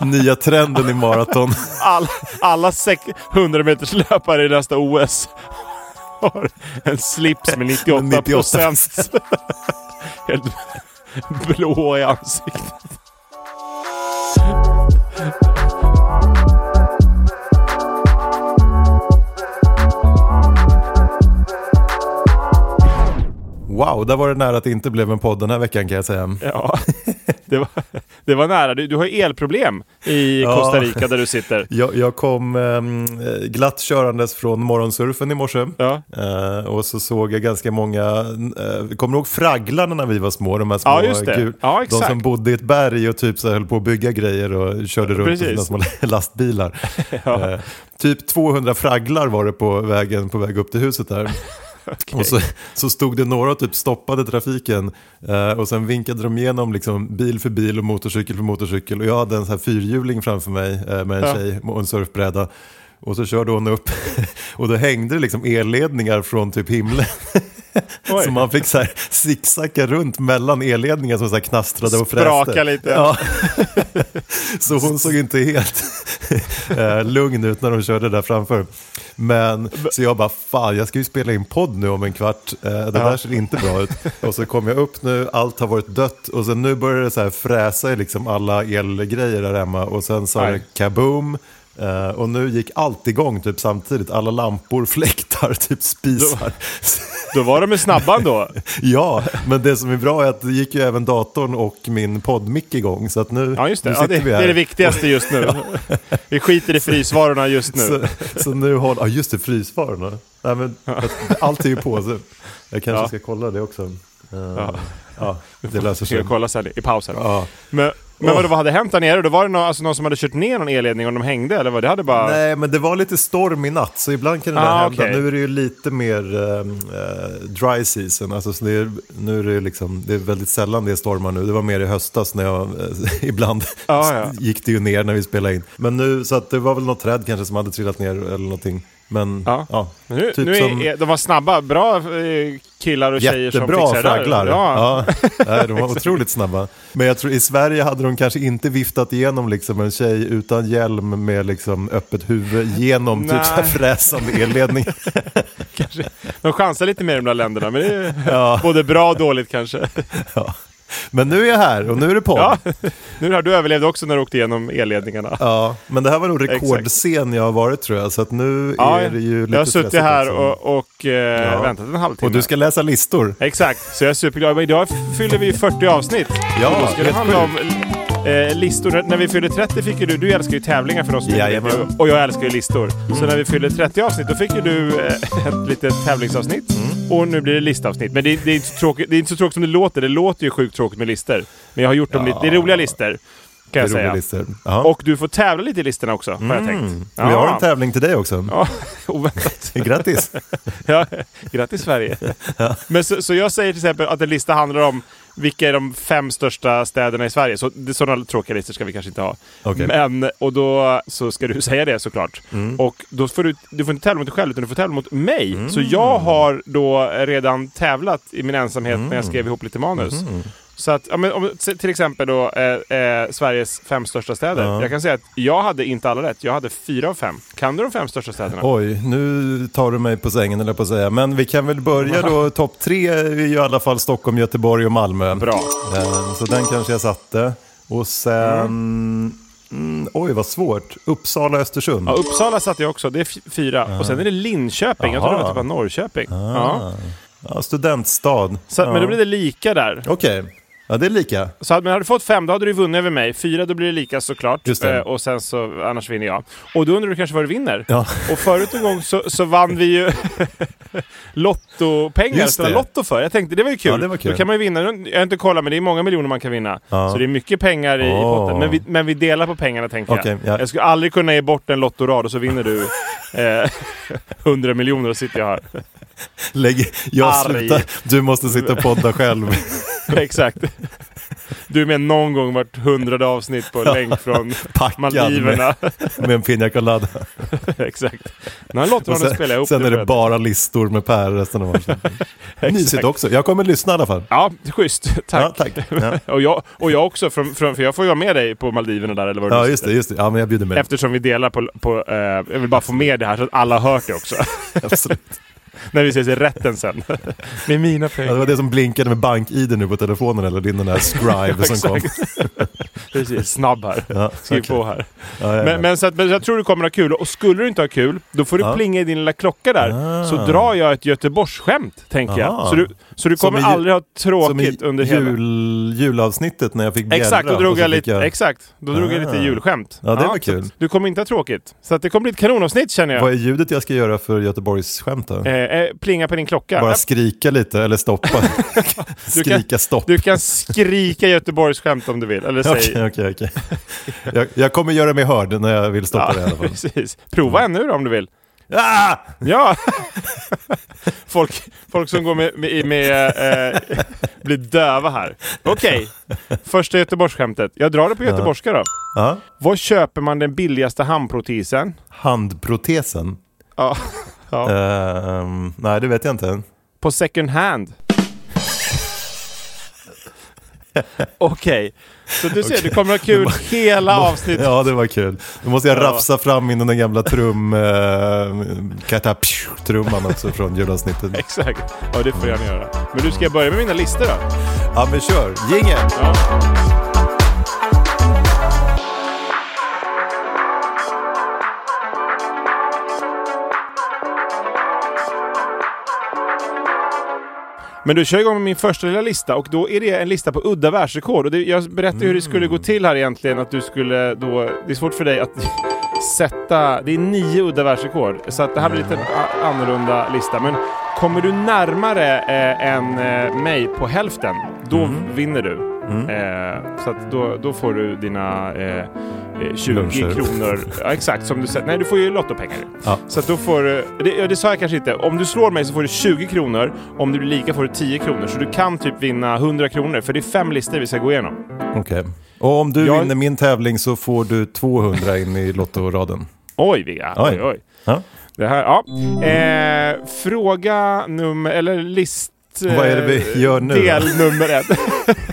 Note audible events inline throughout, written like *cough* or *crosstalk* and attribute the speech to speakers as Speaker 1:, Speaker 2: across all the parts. Speaker 1: Nya trenden i maraton.
Speaker 2: All, alla sek- 100 meters löpare i nästa OS har *laughs* en slips med 98 procent. Helt blå i ansiktet.
Speaker 1: Wow, där var det nära att det inte blev en podd den här veckan kan jag säga.
Speaker 2: Ja, det var, det var nära. Du, du har ju elproblem i
Speaker 1: Ja.
Speaker 2: Costa Rica där du sitter.
Speaker 1: Jag, jag kom ehm, glatt körandes från morgonsurfen i morse.
Speaker 2: Ja.
Speaker 1: Eh, och så såg jag ganska många, eh, kommer du ihåg fragglarna när vi var små? De här små
Speaker 2: Ja, just det. Ja,
Speaker 1: de
Speaker 2: exakt.
Speaker 1: som bodde i ett berg och typ så här höll på att bygga grejer och körde runt i sina
Speaker 2: Precis.
Speaker 1: små *laughs* lastbilar.
Speaker 2: *laughs*
Speaker 1: Eh, typ 200 fragglar var det på vägen på väg upp till huset
Speaker 2: *laughs*
Speaker 1: där. Och så, så stod det några och typ stoppade trafiken eh, och sen vinkade de igenom liksom, bil för bil och motorcykel för motorcykel. Och jag hade en sån här fyrhjuling framför mig eh, med en
Speaker 2: Ja.
Speaker 1: tjej och en surfbräda. Och så körde hon upp *laughs* och då hängde det liksom elledningar från typ himlen.
Speaker 2: Oj.
Speaker 1: Så man fick så här zigzacka runt mellan elledningar som så här knastrade och fräste.
Speaker 2: Spraka lite.
Speaker 1: Ja. *laughs* Så hon såg inte helt *laughs* eh, lugn ut när de körde där framför. Men så jag bara, fan jag ska ju spela in podd nu om en kvart, eh, det där ser inte bra ut. Och så kom jag upp nu, allt har varit dött och sen nu börjar det så här fräsa i liksom alla elgrejer där hemma och sen sa
Speaker 2: Aj.
Speaker 1: det kaboom. eh, och nu gick allt igång typ samtidigt, alla lampor, *laughs* fläktar, typ spisar. *laughs*
Speaker 2: Då var de ju
Speaker 3: *laughs*
Speaker 2: snabba ändå.
Speaker 1: Ja, men det som är bra är att det gick ju även datorn och min poddmick igång. Så att nu,
Speaker 2: Ja, just det.
Speaker 1: nu
Speaker 2: Ja, det, det är det viktigaste just nu. *laughs* Vi skiter i frysvarorna just nu.
Speaker 1: Så, så nu håller... Ja, just det, frysvarorna. Nej, men, att- allt är ju på.
Speaker 2: *laughs*
Speaker 1: Så jag kanske
Speaker 2: Ja.
Speaker 1: ska kolla det också. Eh, ja. det löser
Speaker 2: Ska
Speaker 1: sig.
Speaker 2: *laughs* jag kolla sen i pausen.
Speaker 1: Ja.
Speaker 2: Men, men vad, vad hade hänt där nere? Då var det någon, alltså någon som hade kört ner någon elledning och de hängde eller vad? Det hade bara...
Speaker 1: Nej, men det var lite storm i natt, så ibland kan det där
Speaker 2: Ah,
Speaker 1: hända.
Speaker 2: okej.
Speaker 1: Nu är det ju lite mer ehm, eh, dry season. Alltså, så det är, nu är det, liksom, det är väldigt sällan det är stormar nu. Det var mer i höstas när jag... eh, *laughs* ibland
Speaker 2: Ja, Ah, ja.
Speaker 1: gick det ju ner när vi spelade in. Men nu, så att det var väl något träd kanske som hade trillat ner eller någonting. Men ja,
Speaker 2: Ja. Men nu,
Speaker 1: Typ
Speaker 2: nu är, är, de var snabba. Bra eh, killar och tjejer som
Speaker 1: Jättebra
Speaker 2: fixade det där.
Speaker 1: fragglar.
Speaker 2: *laughs* Ja.
Speaker 1: Ja. Nej, de var otroligt snabba. Men jag tror i Sverige hade de kanske inte viftat igenom liksom en tjej utan hjälm med liksom öppet huvud genom typ
Speaker 2: Nej.
Speaker 1: så här fräsande elledning.
Speaker 2: De chansar lite mer i de där länderna. Men det är
Speaker 1: Ja.
Speaker 2: både bra och dåligt kanske.
Speaker 1: Ja. Men nu är jag här och nu är det på. Ja.
Speaker 2: Ja. Nu har du överlevde också när du åkte igenom elledningarna.
Speaker 1: men det här var nog rekordscen jag har varit tror jag, så att nu är det ju lite
Speaker 2: jag har suttit
Speaker 1: stressigt
Speaker 2: här
Speaker 1: också.
Speaker 2: och, och eh,
Speaker 1: Ja.
Speaker 2: väntat en halvtimme.
Speaker 1: Och du ska läsa listor.
Speaker 2: Exakt, så jag är superglad. Men idag fyller vi ju 40 avsnitt.
Speaker 1: Ja,
Speaker 2: och då ska det
Speaker 1: helt
Speaker 2: handla om eh, listor. När vi fyller 30 fick ju du, du älskar ju tävlingar för oss.
Speaker 1: Jajamän. Mm.
Speaker 2: Och jag älskar ju listor. Så när vi fyller 30 avsnitt då fick ju du eh, *laughs* ett litet tävlingsavsnitt.
Speaker 1: Mm.
Speaker 2: Och nu blir det listavsnitt. Men det, det, är inte så tråkigt, det är inte så tråkigt som det låter. Det låter ju sjukt tråkigt med listor. Men jag har gjort dem lite... Det är roliga listor. Kan
Speaker 1: Det är
Speaker 2: jag säga.
Speaker 1: roliga listor. Ja. Och
Speaker 2: Och du får tävla lite i listorna också, har jag tänkt.
Speaker 1: jag har en tävling till dig också.
Speaker 2: Ja, *laughs*
Speaker 1: *laughs*
Speaker 2: oväntat. *laughs*
Speaker 1: Grattis!
Speaker 2: Ja, grattis Sverige. Men så, så jag säger till exempel att en lista handlar om vilka är de fem största städerna i Sverige. Så, det, sådana tråkiga listor ska vi kanske inte ha.
Speaker 1: Okej.
Speaker 2: Men, och då så ska du *laughs* säga det såklart. Och då får du, du får inte tävla mot dig själv utan du får tävla mot mig. Så jag har då redan tävlat i min ensamhet när jag skrev ihop lite manus. Så att, ja, men om, t- till exempel då eh, eh, Sveriges fem största städer. Jag kan säga att jag hade inte alla rätt. Jag hade fyra av fem. Kan du de fem största städerna?
Speaker 1: Oj, nu tar du mig på sängen eller på att säga. Men vi kan väl börja
Speaker 2: *laughs*
Speaker 1: då. Topp tre är ju i alla fall Stockholm, Göteborg och Malmö.
Speaker 2: Bra.
Speaker 1: Eh, Så den kanske jag satte. Och sen... Mm, oj, vad svårt. Uppsala, Östersund.
Speaker 2: Ja, Uppsala satte jag också. Det är f- fyra. Och sen är det Linköping. Jag tror det var typ av Norrköping. Ja.
Speaker 1: Ja, studentstad.
Speaker 2: Så, att-
Speaker 1: ja.
Speaker 2: Men då blir det lika där.
Speaker 1: Okej, ja, det är lika.
Speaker 2: Så hade, men hade du fått fem, då hade du vunnit över mig. Fyra, då blir det lika såklart.
Speaker 1: Just det.
Speaker 2: Eh, och sen så, annars vinner jag. Och då undrar du kanske vad du vinner?
Speaker 1: Ja.
Speaker 2: Och förut en gång så, så vann vi
Speaker 1: *laughs*
Speaker 2: ju lottopengar,
Speaker 1: Just
Speaker 2: spela
Speaker 1: det.
Speaker 2: lotto för. Jag tänkte det var ju kul.
Speaker 1: Ja, det var kul.
Speaker 2: Då kan man ju vinna, jag har inte kollat men det är många miljoner man kan vinna.
Speaker 1: Ja.
Speaker 2: Så det är mycket pengar i, i
Speaker 1: Åh.
Speaker 2: potten. Men vi, men vi delar på pengarna tänkte
Speaker 1: Okej,
Speaker 2: jag.
Speaker 1: ja.
Speaker 2: Jag skulle aldrig kunna ge bort en lottorad och så
Speaker 1: *laughs*
Speaker 2: vinner du eh, 100 miljoner och sitter jag här.
Speaker 1: Lägg, jag
Speaker 2: Arg.
Speaker 1: slutar. Du måste sitta och podda själv.
Speaker 2: *laughs* Exakt. Du är med någon gång vart hundrade
Speaker 1: *laughs*
Speaker 2: avsnitt på länk från
Speaker 1: Packad
Speaker 2: Maldiverna. *laughs*
Speaker 1: med en pina colada.
Speaker 2: Exakt. När låter
Speaker 1: Och
Speaker 2: honom
Speaker 1: sen
Speaker 2: spela ihop
Speaker 1: sen är
Speaker 2: för
Speaker 1: det
Speaker 2: att-
Speaker 1: bara listor med Per resten av
Speaker 2: *laughs*
Speaker 1: avsnittet. Mysigt också. Jag kommer lyssna i alla fall.
Speaker 2: Ja, schysst. *laughs* Tack.
Speaker 1: Ja, tack. Ja.
Speaker 2: *laughs* Och, jag, och jag också, från, från, för jag får ju vara med dig på Maldiverna där, eller vad
Speaker 1: Ja,
Speaker 2: nu
Speaker 1: just det.
Speaker 2: sitter.
Speaker 1: Just det. Ja, men jag bjuder med.
Speaker 2: Eftersom vi delar på... på eh, jag vill bara få med det här så att alla har hört det också.
Speaker 1: *laughs*
Speaker 2: *laughs*
Speaker 1: Absolut.
Speaker 2: När vi ses i
Speaker 1: *laughs*
Speaker 2: rätten sen. Med mina pengar.
Speaker 1: Ja, det var det som blinkade med bank-id nu på telefonen, eller din den där scribe som
Speaker 2: *laughs*
Speaker 1: kom.
Speaker 2: Precis, snabb här.
Speaker 1: Ja,
Speaker 2: Skriv
Speaker 1: okej.
Speaker 2: på här.
Speaker 1: Ja, ja, ja.
Speaker 2: Men, men, så att, men jag tror du kommer ha kul. Och skulle du inte ha kul, då får du plinga i din lilla klocka där. Så drar jag ett Göteborgsskämt, tänker jag.
Speaker 1: Ah.
Speaker 2: Så du, så du
Speaker 1: Som
Speaker 2: kommer
Speaker 1: i ju-
Speaker 2: aldrig ha
Speaker 1: Som i
Speaker 2: tråkigt under hela...
Speaker 1: jul, julavsnittet när jag fick bjällra.
Speaker 2: Exakt, då
Speaker 1: och
Speaker 2: drog
Speaker 1: så
Speaker 2: jag
Speaker 1: fick
Speaker 2: lite, exakt, då drog jag lite
Speaker 1: Ah.
Speaker 2: julskämt.
Speaker 1: Ja, det var
Speaker 2: så
Speaker 1: kul.
Speaker 2: att Du kommer inte ha tråkigt. Så att det kommer bli ett kanonavsnitt känner jag.
Speaker 1: Vad är ljudet jag ska göra för Göteborgs skämt då?
Speaker 2: Eh, eh, plinga på din klocka.
Speaker 1: Bara
Speaker 2: Eh,
Speaker 1: skrika lite eller
Speaker 2: *laughs*
Speaker 1: stoppa. skrika stopp.
Speaker 2: Du kan skrika Göteborgsskämt om du
Speaker 1: *laughs*
Speaker 2: vill. Eller säg...
Speaker 1: Okej, okej, okej. *laughs* Jag- Jag kommer göra mig hörd när jag vill stoppa det i alla fall.
Speaker 2: *laughs* precis. Prova en nu då om du vill.
Speaker 1: Ah!
Speaker 2: Ja! *laughs* Folk, folk som går med, med, med eh, blir döva här. Okej, första Göteborgsskämtet. Jag drar det på göteborgska då.
Speaker 1: Ja.
Speaker 2: Var köper man den billigaste handprotesen?
Speaker 1: Handprotesen?
Speaker 2: Ja. Ja.
Speaker 1: Ehm, nej, det vet jag inte.
Speaker 2: På second hand. Okej, så du ser, du kommer ha kul hela avsnittet.
Speaker 1: Ja, det var kul. Då måste jag rafsa fram in den gamla trum... Uh, Katapsju-trumman också från julavsnittet.
Speaker 2: Exakt. Ja, det får jag gärna göra. Men du, ska jag börja med mina listor då?
Speaker 1: Ja, men kör. Jingel!
Speaker 2: Ja. Men du kör igång med min första lilla lista och då är det en lista på udda världsrekord. Och det, jag berättade hur det skulle gå till här egentligen, att du skulle då... Det är svårt för dig att sätta... Det är nio udda världsrekord, så att det här blir lite en a- annorlunda lista. Men kommer du närmare eh, än eh, mig på hälften, då
Speaker 1: Mm.
Speaker 2: vinner du. Eh, så att då, då får du dina eh, eh, 20
Speaker 1: Luncher.
Speaker 2: kronor. Ja, exakt, som du säger. Nej, du får ju lottopengar.
Speaker 1: Ja.
Speaker 2: Så att då får du... Det, ja, det sa jag kanske inte. Om du slår mig så får du 20 kronor. Om du blir lika får du 10 kronor. Så du kan typ vinna 100 kronor. För det är fem listor vi ska gå igenom.
Speaker 1: Okej. Och om du
Speaker 2: Jag-
Speaker 1: vinner min tävling så får du 200 in i lottoraden.
Speaker 2: Oj, Vigga.
Speaker 1: Oj.
Speaker 2: Oj, oj.
Speaker 1: Ja.
Speaker 2: Det här, ja. Eh, fråga nummer... Eller list... eh,
Speaker 1: Vad är det vi gör nu?
Speaker 2: Del nummer ett.
Speaker 1: *laughs*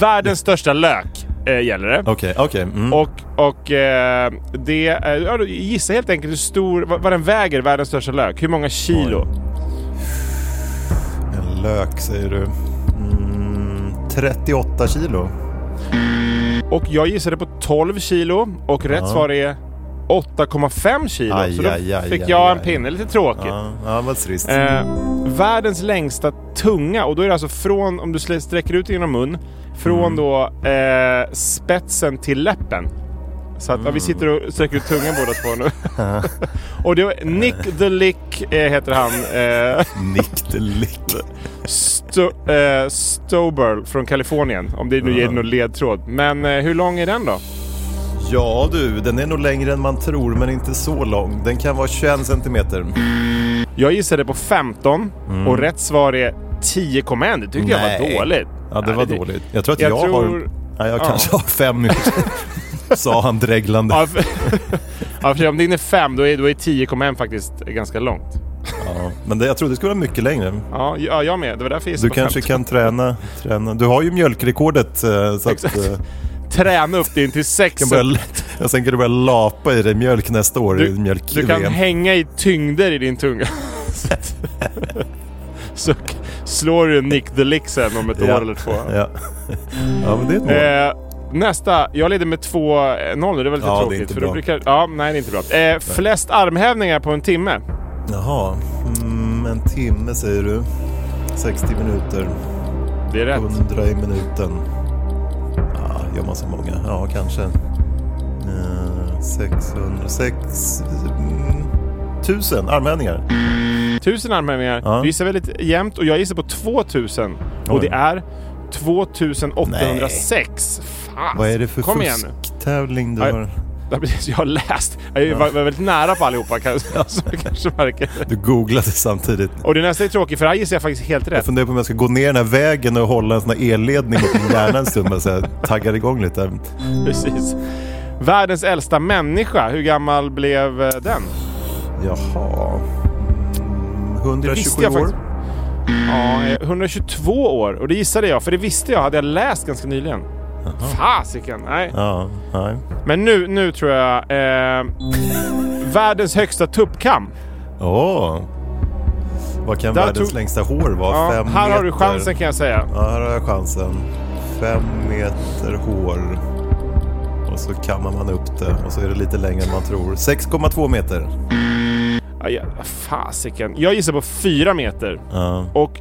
Speaker 2: Världens största lök eh, gäller det.
Speaker 1: Okej, okej. Mm.
Speaker 2: Och, och eh, det... eh, Ja, då gissa helt enkelt hur stor... Vad, vad den väger, världens största lök. Hur många kilo?
Speaker 1: En lök säger du. Mm, 38 kilo.
Speaker 2: Och jag gissade på 12 kilo och rätt svar är 8,5 kilo.
Speaker 1: Aj,
Speaker 2: så då
Speaker 1: aj, aj,
Speaker 2: fick
Speaker 1: aj,
Speaker 2: jag
Speaker 1: aj.
Speaker 2: en pinne. Lite tråkigt.
Speaker 1: Ja, ja vad trist.
Speaker 2: Eh, världens längsta tunga och då är det alltså från, om du slä- sträcker ut det genom mun, från då eh, spetsen till läppen. Så att ja, vi sitter och sträcker ut tungan båda två nu. *laughs* och det var Nick the Lick eh, heter han. Eh,
Speaker 1: Nick the Lick.
Speaker 2: Sto- eh, Stoberl från Kalifornien. Om det nu ger någon ledtråd. Men eh, hur lång är den då?
Speaker 1: Ja du, den är nog längre än man tror men inte så lång. Den kan vara 21 centimeter.
Speaker 2: Mm. Jag gissade på 15 och rätt svar är 10,1. Det tyckte jag
Speaker 1: Mm. Nej.
Speaker 2: var dåligt.
Speaker 1: Ja, det
Speaker 2: Nej,
Speaker 1: var dåligt. Jag tror att jag,
Speaker 2: jag tror-
Speaker 1: har... Nej, jag
Speaker 2: Ja.
Speaker 1: kanske har fem
Speaker 2: *laughs*
Speaker 1: Sa han dreglande.
Speaker 2: Ja, för, ja, för om din är 5 då är, då är 10,1 faktiskt ganska långt.
Speaker 1: Ja. Men det, jag trodde det skulle vara mycket längre.
Speaker 2: Ja, ja, jag med. Det var därför jag
Speaker 1: Du
Speaker 2: gissade på
Speaker 1: kanske
Speaker 2: 50.
Speaker 1: kan träna, träna. Du har ju mjölkrekordet eh, så att,
Speaker 2: Exakt.
Speaker 1: eh,
Speaker 2: Träna upp din till sex.
Speaker 1: kan börja, jag sen kan du börja lapa i dig mjölk nästa år i
Speaker 2: Du,
Speaker 1: mjölk
Speaker 2: du kan hänga i tyngder i
Speaker 1: *laughs*
Speaker 2: din tunga. Så att- Så k- slår du Nick the Lick sen om ett
Speaker 1: Ja.
Speaker 2: år eller två.
Speaker 1: Ja. ja, men det är ett mål.
Speaker 2: Eh, nästa. Jag leder med 2-0 nu. Det är väldigt
Speaker 1: Ja, det är
Speaker 2: tråkigt.
Speaker 1: inte
Speaker 2: för då
Speaker 1: bra.
Speaker 2: brukar, ja, nej, det är inte bra. Eh, flest armhävningar på en timme.
Speaker 1: Jaha, mm, en timme säger du. 60 minuter,
Speaker 2: Det är rätt.
Speaker 1: 100 i minuten. Ah, gör man så många? Ja, kanske. Eh, 600, 6... Mm, 1000 armhävningar.
Speaker 2: Tusen armhävningar.
Speaker 1: Ja.
Speaker 2: Du gissar väldigt jämnt och jag gissar på 2000.
Speaker 1: Oj.
Speaker 2: Och det är 2806. Fan!
Speaker 1: Vad är det för
Speaker 2: Kom igen nu.
Speaker 1: fusktävling du
Speaker 2: Nej.
Speaker 1: har?
Speaker 2: Ja, precis. Jag har läst. Jag var, var väldigt nära på allihopa kan jag säga. *laughs* Så jag kanske märker.
Speaker 1: Du googlade samtidigt.
Speaker 2: Och det nästa är tråkigt för här gissar jag faktiskt helt
Speaker 1: Jag
Speaker 2: rätt.
Speaker 1: funderar på om jag ska gå ner den här vägen och hålla en sån här elledning mot min hjärna en stund och så här taggar igång lite.
Speaker 2: Precis. Världens äldsta människa, hur gammal blev eh, den?
Speaker 1: Jaha. Mm, 127
Speaker 2: jag
Speaker 1: år.
Speaker 2: faktiskt. Ja, eh, 122 år. Och det gissade jag, för det visste jag, hade jag läst ganska nyligen. Fasiken! Nej.
Speaker 1: Ja, nej.
Speaker 2: Men nu, nu tror jag... Eh, världens högsta tuppkam.
Speaker 1: Åh. Vad kan
Speaker 2: Där
Speaker 1: världens
Speaker 2: tog-
Speaker 1: längsta hår vara?
Speaker 2: Ja, här
Speaker 1: Fem
Speaker 2: har du
Speaker 1: meter.
Speaker 2: chansen kan jag säga.
Speaker 1: Ja, här har jag chansen. Fem meter hår. Och så kammar man upp det och så är det lite längre än man tror. 6,2 meter.
Speaker 2: Ja, ja, fasiken. Jag gissar på 4 meter.
Speaker 1: Ja.
Speaker 2: Och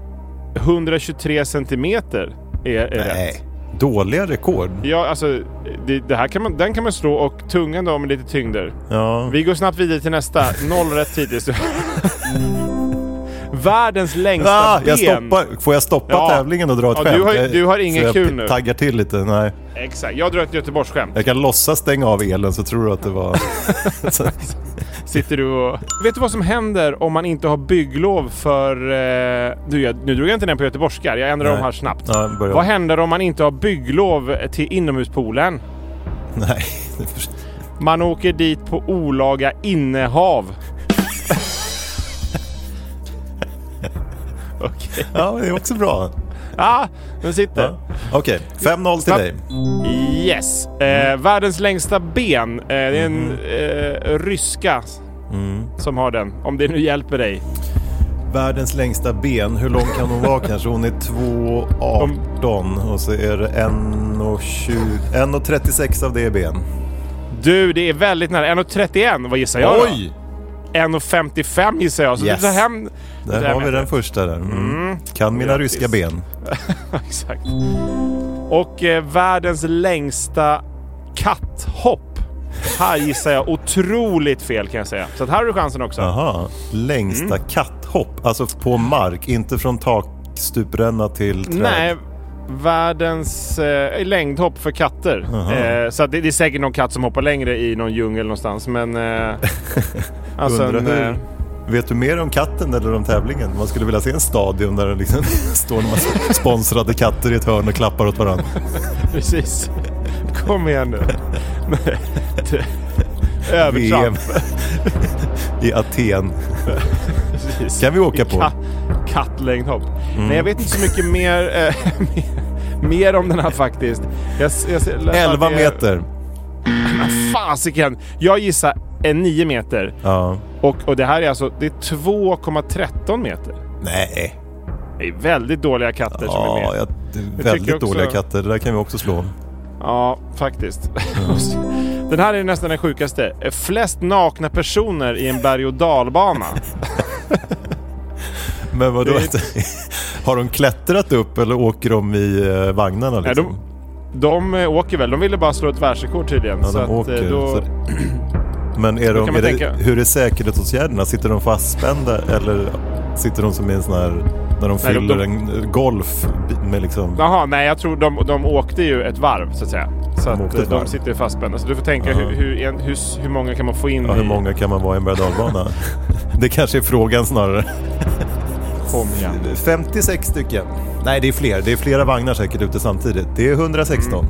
Speaker 2: 123 centimeter är, är rätt.
Speaker 1: Dåliga rekord.
Speaker 2: Ja, alltså, det, det här kan man, den kan man slå och tungan då med lite tyngder.
Speaker 1: Ja.
Speaker 2: Vi går snabbt vidare till nästa. Noll
Speaker 1: *laughs*
Speaker 2: rätt tidigt. Världens längsta
Speaker 1: Ah, jag
Speaker 2: ben.
Speaker 1: stoppar. Får jag stoppa
Speaker 2: Ja.
Speaker 1: tävlingen och dra ett
Speaker 2: Ja,
Speaker 1: skämt?
Speaker 2: du har-
Speaker 1: Jag-
Speaker 2: du har
Speaker 1: så
Speaker 2: ingen
Speaker 1: jag
Speaker 2: kul nu.
Speaker 1: taggar till lite. Nej.
Speaker 2: Exakt. Jag drar ett Göteborgsskämt.
Speaker 1: Jag kan låtsas stänga av elen så tror du att det var...
Speaker 2: Sitter du och... Vet du vad som händer om man inte har bygglov för... Eh... Du, jag, nu drog jag inte ner på göteborgskar. Jag ändrar om
Speaker 1: Nej.
Speaker 2: här snabbt.
Speaker 1: Ja, börja om.
Speaker 2: Vad händer om man inte har bygglov till inomhuspoolen?
Speaker 1: Nej. det förstår-
Speaker 2: Man åker dit på olaga innehav. Okej.
Speaker 1: Ja, det är också bra.
Speaker 2: Ja, den Ah, sitter.
Speaker 1: Ja. Okej, 5-0 till
Speaker 2: Snabbt.
Speaker 1: dig.
Speaker 2: Yes. Eh,
Speaker 1: Mm.
Speaker 2: världens längsta ben. Eh, det är en
Speaker 1: Mm-hmm.
Speaker 2: eh, ryska
Speaker 1: Mm.
Speaker 2: som har den. Om det nu hjälper dig.
Speaker 1: Världens längsta ben, hur lång kan hon vara *laughs* kanske? Hon är 2,18 och så är det 1,20 1,36 av det är ben.
Speaker 2: Du, det är väldigt nära. 1,31. Vad gissar jag då? 1,55 gissar jag. Så
Speaker 1: Yes.
Speaker 2: du tar hem...
Speaker 1: Där har vi den första där. Mm. Kan mina
Speaker 2: Grattis.
Speaker 1: ryska ben.
Speaker 2: Exakt. Och eh, världens längsta katthopp. Här gissar jag otroligt fel kan jag säga. Så att här har du chansen också.
Speaker 1: Aha. Längsta katthopp, alltså på mark, inte från takstupränna till träd.
Speaker 2: Nej, världens eh, längdhopp för katter. Eh, så att det, det är säkert någon katt som hoppar längre i någon djungel någonstans. Men...
Speaker 1: *laughs*
Speaker 2: Eh, alltså
Speaker 1: Undrar
Speaker 2: en,
Speaker 1: hur...
Speaker 2: eh,
Speaker 1: Vet du mer om katten eller om tävlingen? Man skulle vilja se en stadion där det liksom *laughs* står en massa sponsrade katter i ett hörn och klappar åt varandra.
Speaker 2: Precis. Kom igen
Speaker 1: *laughs*
Speaker 2: nu.
Speaker 1: VM
Speaker 2: Övertramp.
Speaker 1: i Aten.
Speaker 2: Precis.
Speaker 1: Kan vi åka på? Mm.
Speaker 2: Ka- kattlängdhopp. Nej, jag vet inte så mycket mer, eh, *laughs* mer, mer om den här faktiskt. Jag, s- jag, s- läste att
Speaker 1: 11
Speaker 2: det är-
Speaker 1: meter.
Speaker 2: Fasiken! Jag gissar en 9 meter.
Speaker 1: Ja.
Speaker 2: Och, och det här är alltså det är 2,13 meter.
Speaker 1: Nej.
Speaker 2: Det är väldigt dåliga katter som är
Speaker 1: Ja,
Speaker 2: med.
Speaker 1: jag, det är
Speaker 2: tycker
Speaker 1: väldigt
Speaker 2: också-
Speaker 1: dåliga katter. Det där kan vi också slå.
Speaker 2: Ja, faktiskt. *laughs* den här är nästan den sjukaste. Flest nakna personer i en berg
Speaker 1: *laughs*
Speaker 2: och dalbana.
Speaker 1: Men vadå?
Speaker 2: Det
Speaker 1: *laughs* Har de klättrat upp eller åker de i eh, vagnarna?
Speaker 2: Nej,
Speaker 1: Liksom?
Speaker 2: de, de eh, åker väl. De ville bara slå ett världsrekord tydligen.
Speaker 1: Ja,
Speaker 2: så
Speaker 1: de
Speaker 2: att, eh,
Speaker 1: åker.
Speaker 2: då,
Speaker 1: Så... Men är de,
Speaker 2: kan
Speaker 1: är
Speaker 2: man
Speaker 1: det,
Speaker 2: tänka.
Speaker 1: hur är säkerhetsåtgärderna? Sitter de fastspända eller sitter de som i en sån här, när de
Speaker 2: Nej, de-
Speaker 1: fyller
Speaker 2: de-
Speaker 1: en golf med liksom...
Speaker 2: Jaha, nej jag tror de, de åkte ju ett varv så att säga. Så
Speaker 1: De
Speaker 2: de,
Speaker 1: åkte ett
Speaker 2: att, eh, de
Speaker 1: varv.
Speaker 2: sitter ju fastspända. Så alltså, du får tänka hur, hur, en- hur, s- hur många kan man få in
Speaker 1: Ja,
Speaker 2: i-
Speaker 1: hur många kan man vara i en berg
Speaker 2: *laughs*
Speaker 1: Det kanske är frågan snarare.
Speaker 2: Kom igen.
Speaker 1: 56 stycken. Nej, det är fler. Det är flera vagnar säkert ute samtidigt. Det är 116.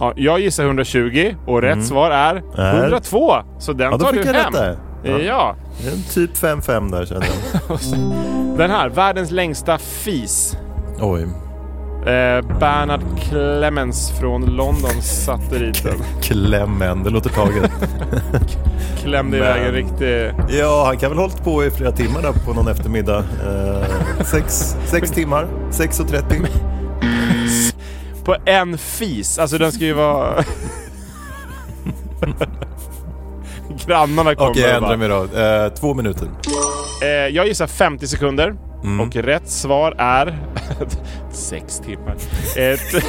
Speaker 2: Ja, jag gissar 120 och rätt svar är
Speaker 1: Är?
Speaker 2: 102. Så den
Speaker 1: Ja, då
Speaker 2: tar du
Speaker 1: fick jag
Speaker 2: hem. Eh,
Speaker 1: rätt där.
Speaker 2: Ja.
Speaker 1: Det är en typ 5-5 där känner jag.
Speaker 2: Den här, världens längsta fis.
Speaker 1: Oj.
Speaker 2: Eh, Bernard Clemens från London
Speaker 1: *laughs*
Speaker 2: satelliten.
Speaker 1: Klämmen, det låter taget.
Speaker 2: Klämde iväg en riktig...
Speaker 1: *laughs* ja, han kan väl hållit på i flera timmar där på någon eftermiddag. Eh, sex, sex timmar, 6.30.
Speaker 2: På en fis. Alltså den ska ju
Speaker 1: *laughs*
Speaker 2: vara... Grannarna kommer
Speaker 1: Okej, jag
Speaker 2: och bara-
Speaker 1: ändrar mig då. Eh, två minuter.
Speaker 2: Eh, jag gissar 50 sekunder.
Speaker 1: Mm.
Speaker 2: Och rätt svar är... *laughs* sex timmar. Eh, t-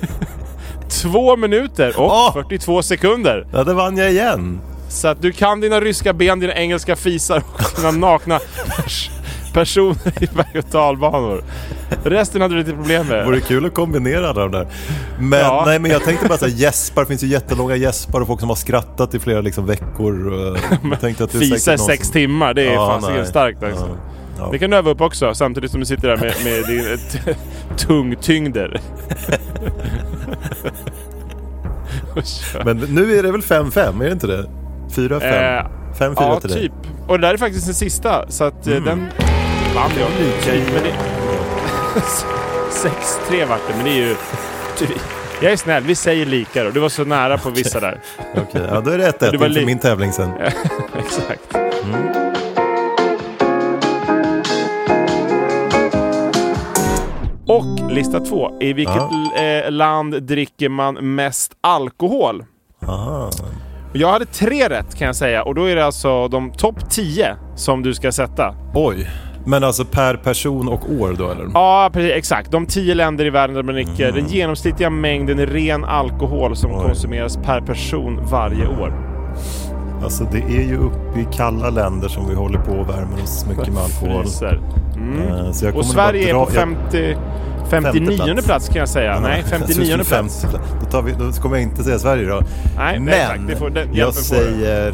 Speaker 2: *laughs* Två minuter och
Speaker 1: Åh!
Speaker 2: 42 sekunder.
Speaker 1: Ja, det vann jag igen.
Speaker 2: Så att du kan dina ryska ben, dina engelska fisar och dina nakna *laughs* pers- personer i berg och dalbanor. Resten hade du lite problem med.
Speaker 1: Vore kul att kombinera alla de där. Men,
Speaker 2: Ja.
Speaker 1: nej, men jag tänkte bara såhär, gäspar, det finns ju jättelånga gäspar och folk som har skrattat i flera liksom, veckor. *laughs* och, eh, jag tänkte att det är
Speaker 2: Fisa i
Speaker 1: säkert någon
Speaker 2: sex
Speaker 1: som-
Speaker 2: timmar, det är
Speaker 1: Ja,
Speaker 2: fasiken
Speaker 1: nej. Ah.
Speaker 2: starkt alltså.
Speaker 1: Ja. Ja.
Speaker 2: Det kan du öva upp också samtidigt som du sitter där med, med din eh, t-
Speaker 1: *laughs*
Speaker 2: tungtyngder. Och kör.
Speaker 1: Men nu är det väl 5-5, är det inte det? 4-5?
Speaker 2: Eh,
Speaker 1: 5-4
Speaker 2: ja,
Speaker 1: till
Speaker 2: typ.
Speaker 1: dig. Mm.
Speaker 2: Och det där är faktiskt den sista, så att eh, den vann jag. Typ, men det... *laughs* 6-3 vart det, men det är ju... ty- Jag är snäll, vi säger lika då. Du var så nära på vissa där.
Speaker 1: Okej, ja, då är det 1-1
Speaker 2: Du var
Speaker 1: inför
Speaker 2: li-
Speaker 1: min tävling sen. *laughs*
Speaker 2: Exakt. Mm. Och lista två. I vilket l- eh, land dricker man mest alkohol?
Speaker 1: Aha.
Speaker 2: Jag hade tre rätt kan jag säga och då är det alltså de topp 10 som du ska sätta.
Speaker 1: Oj. Men alltså per person och år då eller?
Speaker 2: Ja, precis, exakt. De 10 länder i världen där man dricker
Speaker 1: Mhm.
Speaker 2: den genomsnittliga mängden ren alkohol som konsumeras per person varje år.
Speaker 1: Alltså det är ju uppe i kalla länder som vi håller på och värmer oss mycket med alkohol.
Speaker 2: Fryser.
Speaker 1: Eh, Så jag kommer
Speaker 2: Mm. Och
Speaker 1: nog
Speaker 2: Sverige är
Speaker 1: bara
Speaker 2: på
Speaker 1: dra- jag-
Speaker 2: 50, 59
Speaker 1: plats.
Speaker 2: plats. kan jag säga. Nej,
Speaker 1: *laughs* jag tror
Speaker 2: 59
Speaker 1: det är
Speaker 2: plats.
Speaker 1: 50 plats. Då, tar vi, då kommer jag inte säga Sverige då.
Speaker 2: Nej,
Speaker 1: Men
Speaker 2: nej, exakt. Det får- den hjälpen
Speaker 1: jag
Speaker 2: får du.
Speaker 1: säger...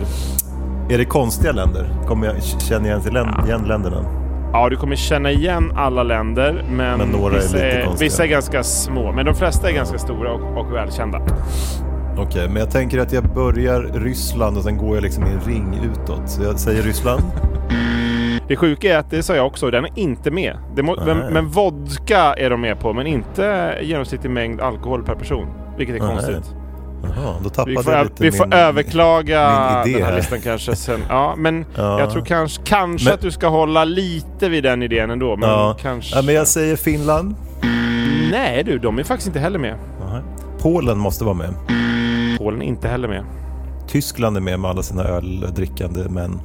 Speaker 1: Är det konstiga länder? Kommer jag, känner jag till län, igen länderna?
Speaker 2: Ja, du kommer känna igen alla länder, men,
Speaker 1: Men några är
Speaker 2: vissa,
Speaker 1: lite
Speaker 2: är,
Speaker 1: konstiga.
Speaker 2: vissa är ganska små. Men de flesta är ganska stora och, och välkända.
Speaker 1: Okej, men jag tänker att jag börjar Ryssland och sen går jag liksom i en ring utåt. Så jag säger
Speaker 2: *laughs*
Speaker 1: Ryssland.
Speaker 2: Det sjuka är att det sa jag också, den är inte med. Det må, men, men vodka är de med på, men inte genomsnittlig mängd alkohol per person. Vilket är
Speaker 1: Nej.
Speaker 2: konstigt.
Speaker 1: Jaha, då
Speaker 2: Vi
Speaker 1: tappade
Speaker 2: får,
Speaker 1: jag
Speaker 2: ö-
Speaker 1: lite
Speaker 2: vi får
Speaker 1: min...
Speaker 2: överklaga
Speaker 1: min idé
Speaker 2: den här
Speaker 1: här.
Speaker 2: listan kanske sen. Ja, men
Speaker 1: *laughs* Ja.
Speaker 2: jag tror kanske, kanske
Speaker 1: Men-
Speaker 2: att du ska hålla lite vid den idén ändå. Men
Speaker 1: Ja.
Speaker 2: kanske...
Speaker 1: ja, men jag säger Finland.
Speaker 2: Nej du, de är faktiskt inte heller med.
Speaker 1: Aha. Polen måste vara med.
Speaker 2: Polen är inte heller med.
Speaker 1: Tyskland är med med alla sina öldrickande män.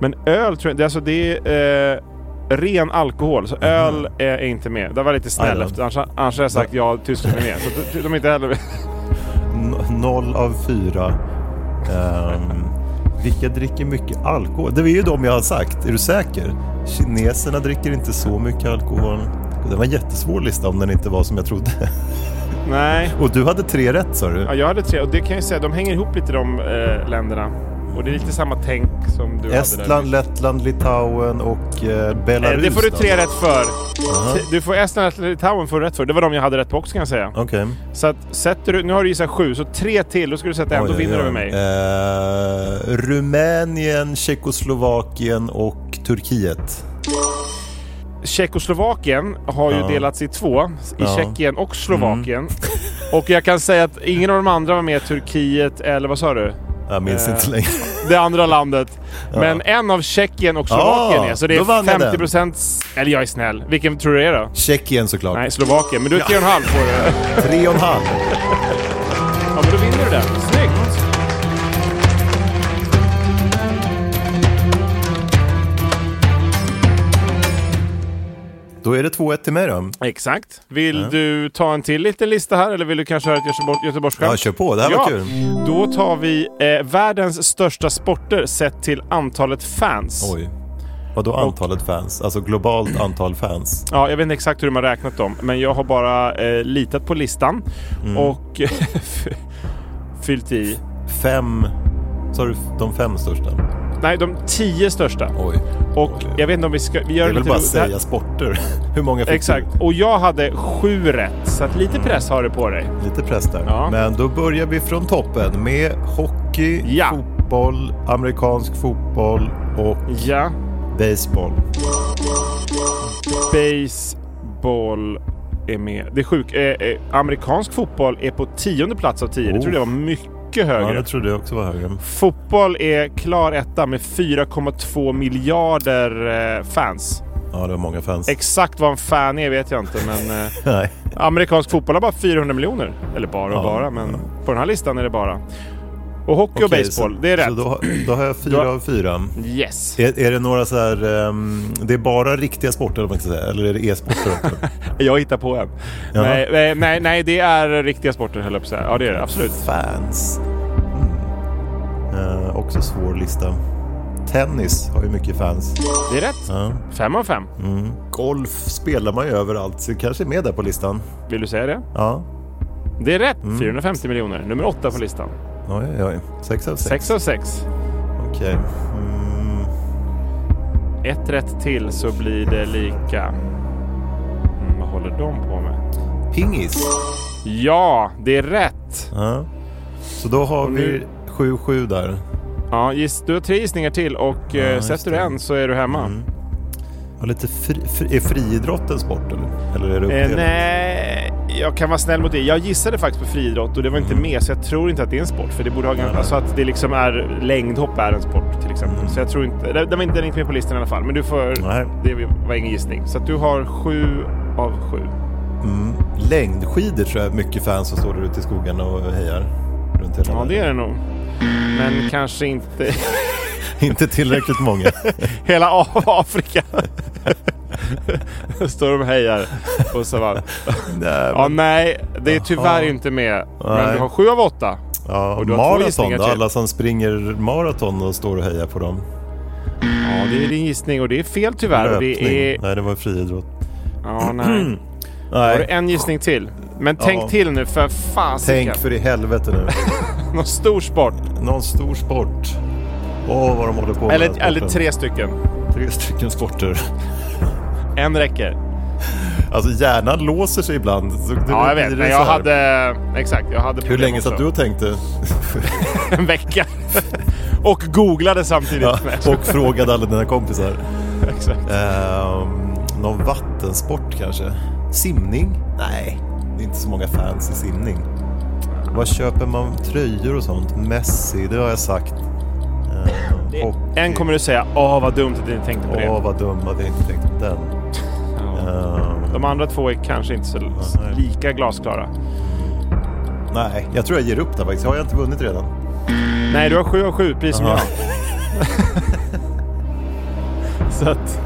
Speaker 2: Men öl tror jag det är, alltså det är eh, ren alkohol,
Speaker 1: Mhm.
Speaker 2: så öl är, är inte med. Det var lite
Speaker 1: Aj
Speaker 2: snäll
Speaker 1: då.
Speaker 2: efter, annars, annars hade jag sagt ja, Tyskland är med. Så de- de är inte heller med. *laughs*
Speaker 1: N- noll av fyra. Ehm, vilka dricker mycket alkohol? Det är ju de jag har sagt. Är du säker? Kineserna dricker inte så mycket alkohol. Det var en jättesvår lista om den inte var som jag trodde. *laughs*
Speaker 2: Nej,
Speaker 1: Och du hade tre rätt sa
Speaker 2: ja,
Speaker 1: du.
Speaker 2: jag hade tre och det kan jag ju säga, de hänger ihop lite de eh, länderna. Och det är lite samma tänk som du hade
Speaker 1: Estland, Lettland, Litauen och eh,
Speaker 2: där. Eh,
Speaker 1: Belarus.
Speaker 2: Det får du tre
Speaker 1: då.
Speaker 2: rätt för. T- Du får Estland och Litauen får du rätt för. Det var de jag hade rätt på också kan jag säga.
Speaker 1: Okej.
Speaker 2: Så att sätter du, nu har du gissat sju, så tre till, då ska du sätta en,
Speaker 1: Oj,
Speaker 2: då
Speaker 1: oj,
Speaker 2: vinner du
Speaker 1: oj.
Speaker 2: över mig.
Speaker 1: Eh, Rumänien, Tjeckoslovakien och Turkiet.
Speaker 2: Tjeckoslovakien har ju delats i två, i
Speaker 1: Ja. Mm.
Speaker 2: Tjeckien och Slovakien. Och jag kan säga att ingen av de andra var med, Turkiet eller vad sa du?
Speaker 1: Jag minns
Speaker 2: Eh,
Speaker 1: inte längre.
Speaker 2: Det andra landet. Men en av Tjeckien och Slovakien
Speaker 1: Ah,
Speaker 2: är, så det är
Speaker 1: då vann jag den.
Speaker 2: 50 procent... Eller jag är snäll. Vilken tror du det är då?
Speaker 1: Tjeckien såklart.
Speaker 2: Nej, Slovakien. Men du är tre och en halv på det.
Speaker 1: Tre och en halv.
Speaker 2: Ja, men då vinner du den. Snyggt!
Speaker 1: Då är det 2-1 till mig då.
Speaker 2: Exakt. Vill du ta en till liten lista här eller vill du kanske höra ett Göteborg- Göteborgsskämt?
Speaker 1: Ja, kör på. Det här var kul.
Speaker 2: Då tar vi eh, världens största sporter sett till antalet fans.
Speaker 1: Oj. Vadå antalet fans? Alltså globalt antal fans?
Speaker 2: Ja, jag vet inte exakt hur de har räknat dem, men jag har bara eh, litat på listan
Speaker 1: Mm.
Speaker 2: och *laughs* fyllt i.
Speaker 1: Fem... Sa du de fem största?
Speaker 2: Nej, de tio största.
Speaker 1: Oj.
Speaker 2: Och jag vet inte om vi ska... Vi gör
Speaker 1: Jag vill
Speaker 2: lite
Speaker 1: bara
Speaker 2: ro- det här-
Speaker 1: säga sporter. *laughs* Hur många fick
Speaker 2: Exakt. Och jag hade sju rätt, så att lite press har du på dig.
Speaker 1: du? Lite press där.
Speaker 2: Ja.
Speaker 1: Men då börjar vi från toppen med hockey,
Speaker 2: Ja.
Speaker 1: fotboll fotboll, amerikansk fotboll och
Speaker 2: Ja.
Speaker 1: baseball.
Speaker 2: Baseball är med. Det är sjukt. Eh, eh, amerikansk fotboll är på tionde plats av tio. Det
Speaker 1: Oh.
Speaker 2: trodde jag var mycket högre.
Speaker 1: Ja, det trodde jag också var högre.
Speaker 2: Fotboll är klar etta med 4,2 miljarder eh, fans.
Speaker 1: Ja, det var många fans.
Speaker 2: Exakt vad en fan är vet jag inte, men eh,
Speaker 1: Nej.
Speaker 2: amerikansk fotboll har bara 400 miljoner. Eller bara
Speaker 1: Ja.
Speaker 2: och bara, men på den här listan är det bara. Och hockey och
Speaker 1: Okej,
Speaker 2: baseball,
Speaker 1: så,
Speaker 2: det är rätt.
Speaker 1: Så då, då har jag fyra
Speaker 2: Du har-
Speaker 1: av fyra.
Speaker 2: Yes.
Speaker 1: Är, är det några så här, ehm, det är bara riktiga sporter eller vad man ska säga, eller är det e-sporter
Speaker 2: *laughs*
Speaker 1: också?
Speaker 2: Jag hittar på en.
Speaker 1: Jaha.
Speaker 2: Nej, eh, nej, nej, det är riktiga sporter höll jag på att säga. Ja, det är det. Absolut.
Speaker 1: Fans. Mm. Eh, också svår lista. Tennis har ju mycket fans.
Speaker 2: Det är rätt.
Speaker 1: Ja.
Speaker 2: Fem av fem.
Speaker 1: Golf spelar man ju överallt, så det kanske är med där på listan.
Speaker 2: Vill du säga det?
Speaker 1: Ja,
Speaker 2: Det är rätt.
Speaker 1: Mm.
Speaker 2: 450 miljoner. Nummer åtta på listan.
Speaker 1: oj, oj, oj. Sex av sex.
Speaker 2: Sex av sex.
Speaker 1: Okej. Mm.
Speaker 2: Ett rätt till så blir det lika... Mm, vad håller de på med?
Speaker 1: Pingis.
Speaker 2: Ja, det är rätt!
Speaker 1: Ja. Så då har
Speaker 2: Och
Speaker 1: vi
Speaker 2: nu-
Speaker 1: 7-7 där.
Speaker 2: Ja, giss, du har tre gissningar till och eh,
Speaker 1: just
Speaker 2: sätter du
Speaker 1: det. Mm.
Speaker 2: en så är du hemma.
Speaker 1: Och lite fri, fri, är friidrott en sport eller? Eller är det
Speaker 2: Eh,
Speaker 1: uppdelat?
Speaker 2: nej, jag kan vara snäll mot dig. Jag gissade faktiskt på friidrott och det var inte
Speaker 1: Mm.
Speaker 2: med så jag tror inte att det är en sport. För det borde ha ganska... Alltså att det liksom är... Längdhopp är en sport till exempel. Så jag tror inte... Det, det var inte den gick med på listan i alla fall. Men du får...
Speaker 1: Mm. Nej.
Speaker 2: Det var ingen gissning. Så att du har sju av sju.
Speaker 1: Längdskidor tror jag är mycket fans som står där ute i skogen och hejar. Runt hela
Speaker 2: Ja,
Speaker 1: världen.
Speaker 2: det är det nog. Men kanske inte...
Speaker 1: *laughs* Inte tillräckligt
Speaker 2: *laughs*
Speaker 1: många.
Speaker 2: Hela A- Afrika. *laughs* Står de och hejar på savannen.
Speaker 1: Nej,
Speaker 2: Ja, nej, det är tyvärr inte med. Men
Speaker 1: Nej.
Speaker 2: du har sju av åtta.
Speaker 1: Ja,
Speaker 2: Och du har två
Speaker 1: maraton
Speaker 2: gissningar
Speaker 1: då,
Speaker 2: till.
Speaker 1: alla som springer maraton och står och hejar på dem.
Speaker 2: Ja, det är din gissning och det är fel tyvärr. Och
Speaker 1: Löpning.
Speaker 2: det är...
Speaker 1: Nej, det var friidrott.
Speaker 2: Ja, nej. Har du
Speaker 1: Nej,
Speaker 2: en gissning till? Men tänk
Speaker 1: Ja.
Speaker 2: till nu för fasiken.
Speaker 1: tänk för i helvete
Speaker 2: *laughs*
Speaker 1: nu.
Speaker 2: Någon stor sport.
Speaker 1: Någon stor sport. Åh, vad de håller på med den
Speaker 2: Eller,
Speaker 1: här
Speaker 2: eller
Speaker 1: sporten.
Speaker 2: tre stycken.
Speaker 1: tre stycken sporter.
Speaker 2: En räcker.
Speaker 1: *laughs* Alltså hjärnan låser sig ibland. Så det
Speaker 2: Ja, jag
Speaker 1: blir
Speaker 2: vet.
Speaker 1: det
Speaker 2: Men
Speaker 1: så
Speaker 2: jag
Speaker 1: här.
Speaker 2: hade... Exakt, jag hade
Speaker 1: Hur
Speaker 2: problem
Speaker 1: länge
Speaker 2: också.
Speaker 1: satt du och tänkte?
Speaker 2: *laughs* En vecka. och googlade samtidigt.
Speaker 1: Ja, *laughs*
Speaker 2: med.
Speaker 1: och frågade alla dina kompisar.
Speaker 2: *laughs* Exakt.
Speaker 1: Ehm, någon vattensport kanske? Simning? Nej, det är inte så många fans i simning. Vad köper man tröjor och sånt? Messi, det har jag sagt. Ehm, hockey.
Speaker 2: En kommer du säga, åh vad dumt att ni tänkte på
Speaker 1: Åh,
Speaker 2: det.
Speaker 1: vad dum att jag inte tänkte på den. Ehm,
Speaker 2: De andra två är kanske inte så
Speaker 1: Nej. Mm.
Speaker 2: lika glasklara.
Speaker 1: nej, jag tror jag ger upp där faktiskt. Har jag inte vunnit redan?
Speaker 2: Nej, du har sju av sju, precis som
Speaker 1: Jaha.
Speaker 2: jag. Så att,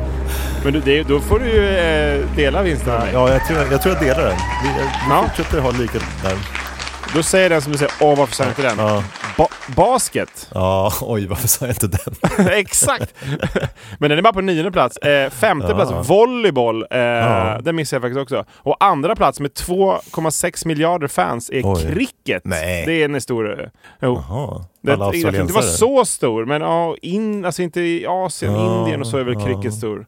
Speaker 2: men du, det, då får du ju eh, dela vinsten med mig.
Speaker 1: Ja, jag tror jag, tror jag delar den. Vi, vi
Speaker 2: Ja.
Speaker 1: fortsätter ha lika där.
Speaker 2: Då säger den som du säger, åh varför sa jag inte den?
Speaker 1: Ja.
Speaker 2: Ba- basket? *laughs*
Speaker 1: Ja, oj, varför sa jag inte den? *laughs*
Speaker 2: Exakt! men den är bara på nionde plats. Eh, femte plats, volleyboll. Eh, Den missade jag faktiskt också. Och andra plats med 2,6 miljarder fans är
Speaker 1: Oj.
Speaker 2: cricket.
Speaker 1: Nej.
Speaker 2: Det är en stor... eh, Jo.
Speaker 1: Jaha,
Speaker 2: Det,
Speaker 1: alla
Speaker 2: jag tror inte det var
Speaker 1: australiensare.
Speaker 2: så stor, men ja, in, alltså inte i Asien, Indien och så är väl cricket stor.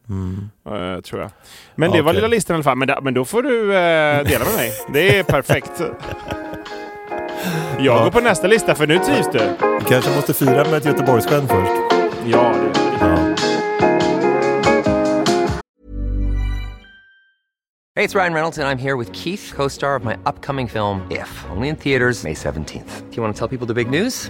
Speaker 2: Eh, tror jag. Men det var
Speaker 1: Mm. Okej.
Speaker 2: lilla listan i alla fall. Men, da, men då får du eh, dela med mig.
Speaker 1: *laughs*
Speaker 2: Det är perfekt. Jag går på nästa lista, för nu trivs du.
Speaker 1: Vi kanske måste fira med ett Göteborgsskämt först.
Speaker 2: Ja, det,
Speaker 4: Hey, it's Ryan Reynolds, and I'm here with Keith, co star of my upcoming film, If, only in theaters, May 17th. Do you want to tell people the big news?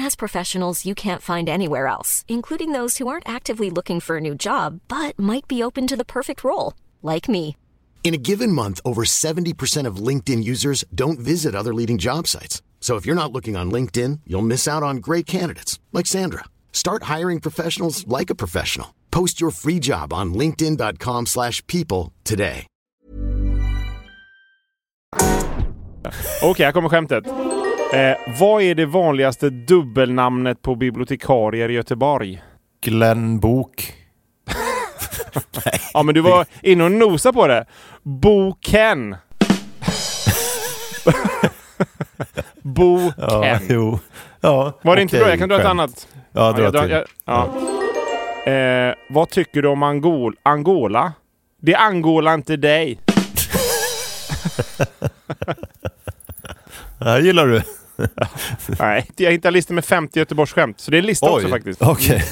Speaker 5: has professionals you can't find anywhere else, including those who aren't actively looking for a new job but might be open to the perfect role, like me.
Speaker 6: In a given month, over 70% of LinkedIn users don't visit other leading job sites. So if you're not looking on LinkedIn, you'll miss out on great candidates like Sandra. Start hiring professionals like a professional. Post your free job on linkedin.com/people slash people today.
Speaker 2: Okej, här kommer skämtet. Eh, vad är det vanligaste dubbelnamnet på bibliotekarier i Göteborg?
Speaker 1: Glenn Bok.
Speaker 2: Ja, men du var inne och nosa på det.
Speaker 1: *laughs*
Speaker 2: Boken. Boken.
Speaker 1: Ja, *laughs* jo. Ja,
Speaker 2: Var det inte
Speaker 1: okej,
Speaker 2: bra? Jag kan dra ett
Speaker 1: skämt.
Speaker 2: annat.
Speaker 1: Ja, dra
Speaker 2: jag
Speaker 1: till.
Speaker 2: jag- ja. Eh, vad tycker du om Angol Angola? Det angolar inte dig.
Speaker 1: Det här gillar du.
Speaker 2: Nej, jag hittar listor med 50 Göteborgsskämt, så det är en lista också faktiskt. *laughs*
Speaker 1: okej.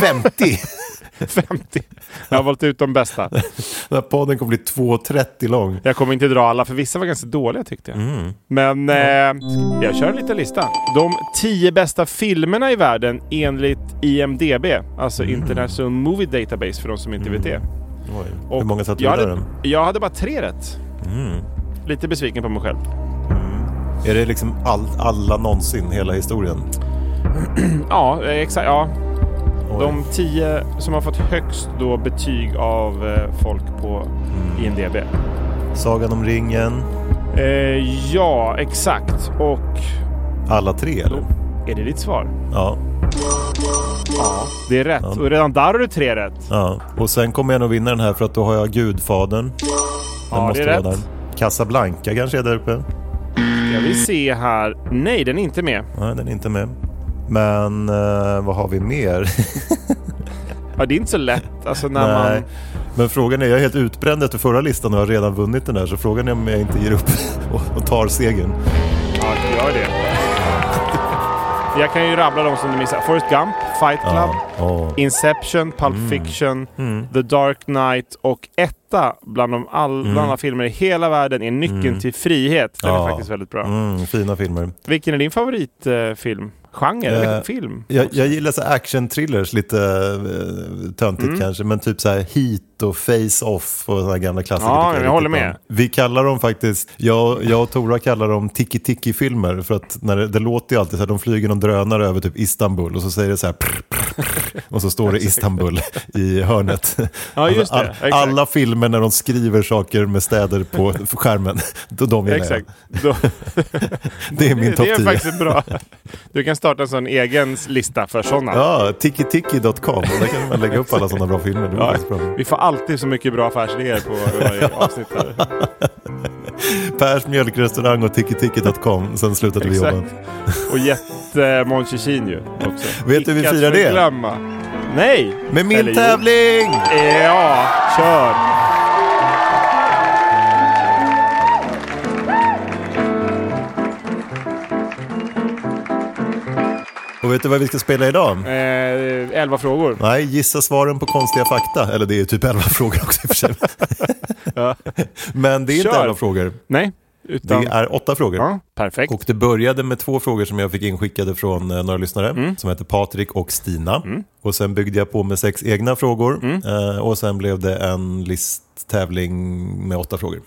Speaker 1: 50?
Speaker 2: 50. Jag har valt ut de
Speaker 1: *laughs*
Speaker 2: bästa.
Speaker 1: Den här podden kommer bli 2.30 lång.
Speaker 2: Jag kommer inte dra alla, för vissa var ganska dåliga tyckte jag.
Speaker 1: Mm.
Speaker 2: Men eh, jag kör en liten lista. De tio bästa filmerna i världen enligt IMDB, alltså International Movie Database för de som inte vet det. Och
Speaker 1: Mm. Hur många satt Mm. du
Speaker 2: jag
Speaker 1: där?
Speaker 2: hade, jag hade bara tre rätt. Lite besviken på mig själv.
Speaker 1: Är det liksom all, alla någonsin, hela historien?
Speaker 2: Ja, eh, exakt. Ja.
Speaker 1: Oj.
Speaker 2: De tio som har fått högst då betyg av eh, folk på
Speaker 1: Mm.
Speaker 2: IMDB.
Speaker 1: Sagan om ringen,
Speaker 2: Eh, ja, exakt. Och
Speaker 1: alla tre eller?
Speaker 2: är det ditt svar?
Speaker 1: Ja.
Speaker 2: Ja, det är rätt. Och redan där har du tre rätt.
Speaker 1: ja. Och sen kommer jag nog vinna den här för att då har jag Gudfadern. Den
Speaker 2: Ja, det är rätt.
Speaker 1: Casablanca kanske är där uppe?
Speaker 2: Jag
Speaker 1: Mm.
Speaker 2: vill se här. Nej, den är inte med.
Speaker 1: Nej, den är inte med. Men eh, vad har vi mer? *laughs*
Speaker 2: Ja, det är inte så lätt. Alltså när
Speaker 1: Nej.
Speaker 2: man...
Speaker 1: Men frågan är, jag är helt utbränd efter förra listan och har redan vunnit den där. Så frågan är om jag inte ger upp *laughs* och, och tar segern.
Speaker 2: Ja, gör det. *laughs* Jag kan ju rabbla de som du missar. Forrest Gump, Fight Club,
Speaker 1: Ja. Mm.
Speaker 2: Inception, Pulp Fiction, The Dark Knight och etta bland de all, bland alla filmer i hela världen är Nyckeln till frihet. Den är
Speaker 1: Mm. Ja.
Speaker 2: faktiskt väldigt bra.
Speaker 1: Mm, fina filmer.
Speaker 2: Vilken är din favoritfilm? Genre eller
Speaker 1: Eh,
Speaker 2: film?
Speaker 1: Jag, jag gillar så action-thrillers, lite eh, töntigt
Speaker 2: Mm.
Speaker 1: kanske, men typ så här Heat och Face-Off och sådana gamla klassiker.
Speaker 2: Ja,
Speaker 1: tycker är
Speaker 2: jag håller
Speaker 1: riktigt
Speaker 2: med.
Speaker 1: bra. Vi kallar dem faktiskt, jag, jag och Tora kallar dem Tiki-Tiki-filmer, för att när det, det låter ju alltid så här, de flyger någon drönare över typ Istanbul och så säger det så här prr, prr, prr, och så
Speaker 2: *laughs*
Speaker 1: står det Istanbul i hörnet. Alltså,
Speaker 2: Ja, just det.
Speaker 1: All-
Speaker 2: Exakt.
Speaker 1: alla filmer när de skriver saker med städer på skärmen, *laughs* då- de gillar
Speaker 2: Exakt.
Speaker 1: jag.
Speaker 2: Då-
Speaker 1: Det är *laughs* min topp
Speaker 2: *laughs* det är
Speaker 1: 10. *laughs*
Speaker 2: faktiskt bra. Du kan starta en sån egen lista för sådana.
Speaker 1: Ja, tikitiki.com. Där kan man lägga upp alla sådana bra filmer. Det var
Speaker 2: Ja,
Speaker 1: faktiskt bra.
Speaker 2: vi får alltid så mycket bra affärsidéer på varje avsnitt. Här.
Speaker 1: Pers mjölkrestaurang och tikitiki.com. Sen slutade vi jobba.
Speaker 2: Exakt. Och jättemåns ju också.
Speaker 1: Vet du hur vi
Speaker 2: Icke att
Speaker 1: firar det?
Speaker 2: förglömma. Nej!
Speaker 1: Med min
Speaker 2: Eller jo. Eh,
Speaker 1: tävling!
Speaker 2: Ja, kör!
Speaker 1: Och vet du vad vi ska spela idag?
Speaker 2: Eh, elva frågor.
Speaker 1: Nej, gissa svaren på konstiga fakta. Eller det är ju typ 11 frågor också i och för sig. *laughs* Men det är inte
Speaker 2: Kör.
Speaker 1: 11 frågor.
Speaker 2: Nej,
Speaker 1: Det
Speaker 2: utan...
Speaker 1: är åtta frågor.
Speaker 2: Ja, perfekt.
Speaker 1: Och det började med två frågor som jag fick inskickade från eh, några lyssnare
Speaker 2: Mm.
Speaker 1: som heter Patrik och Stina. Och sen byggde jag på med sex egna frågor
Speaker 2: Mm.
Speaker 1: eh, och sen blev det en listtävling med åtta frågor.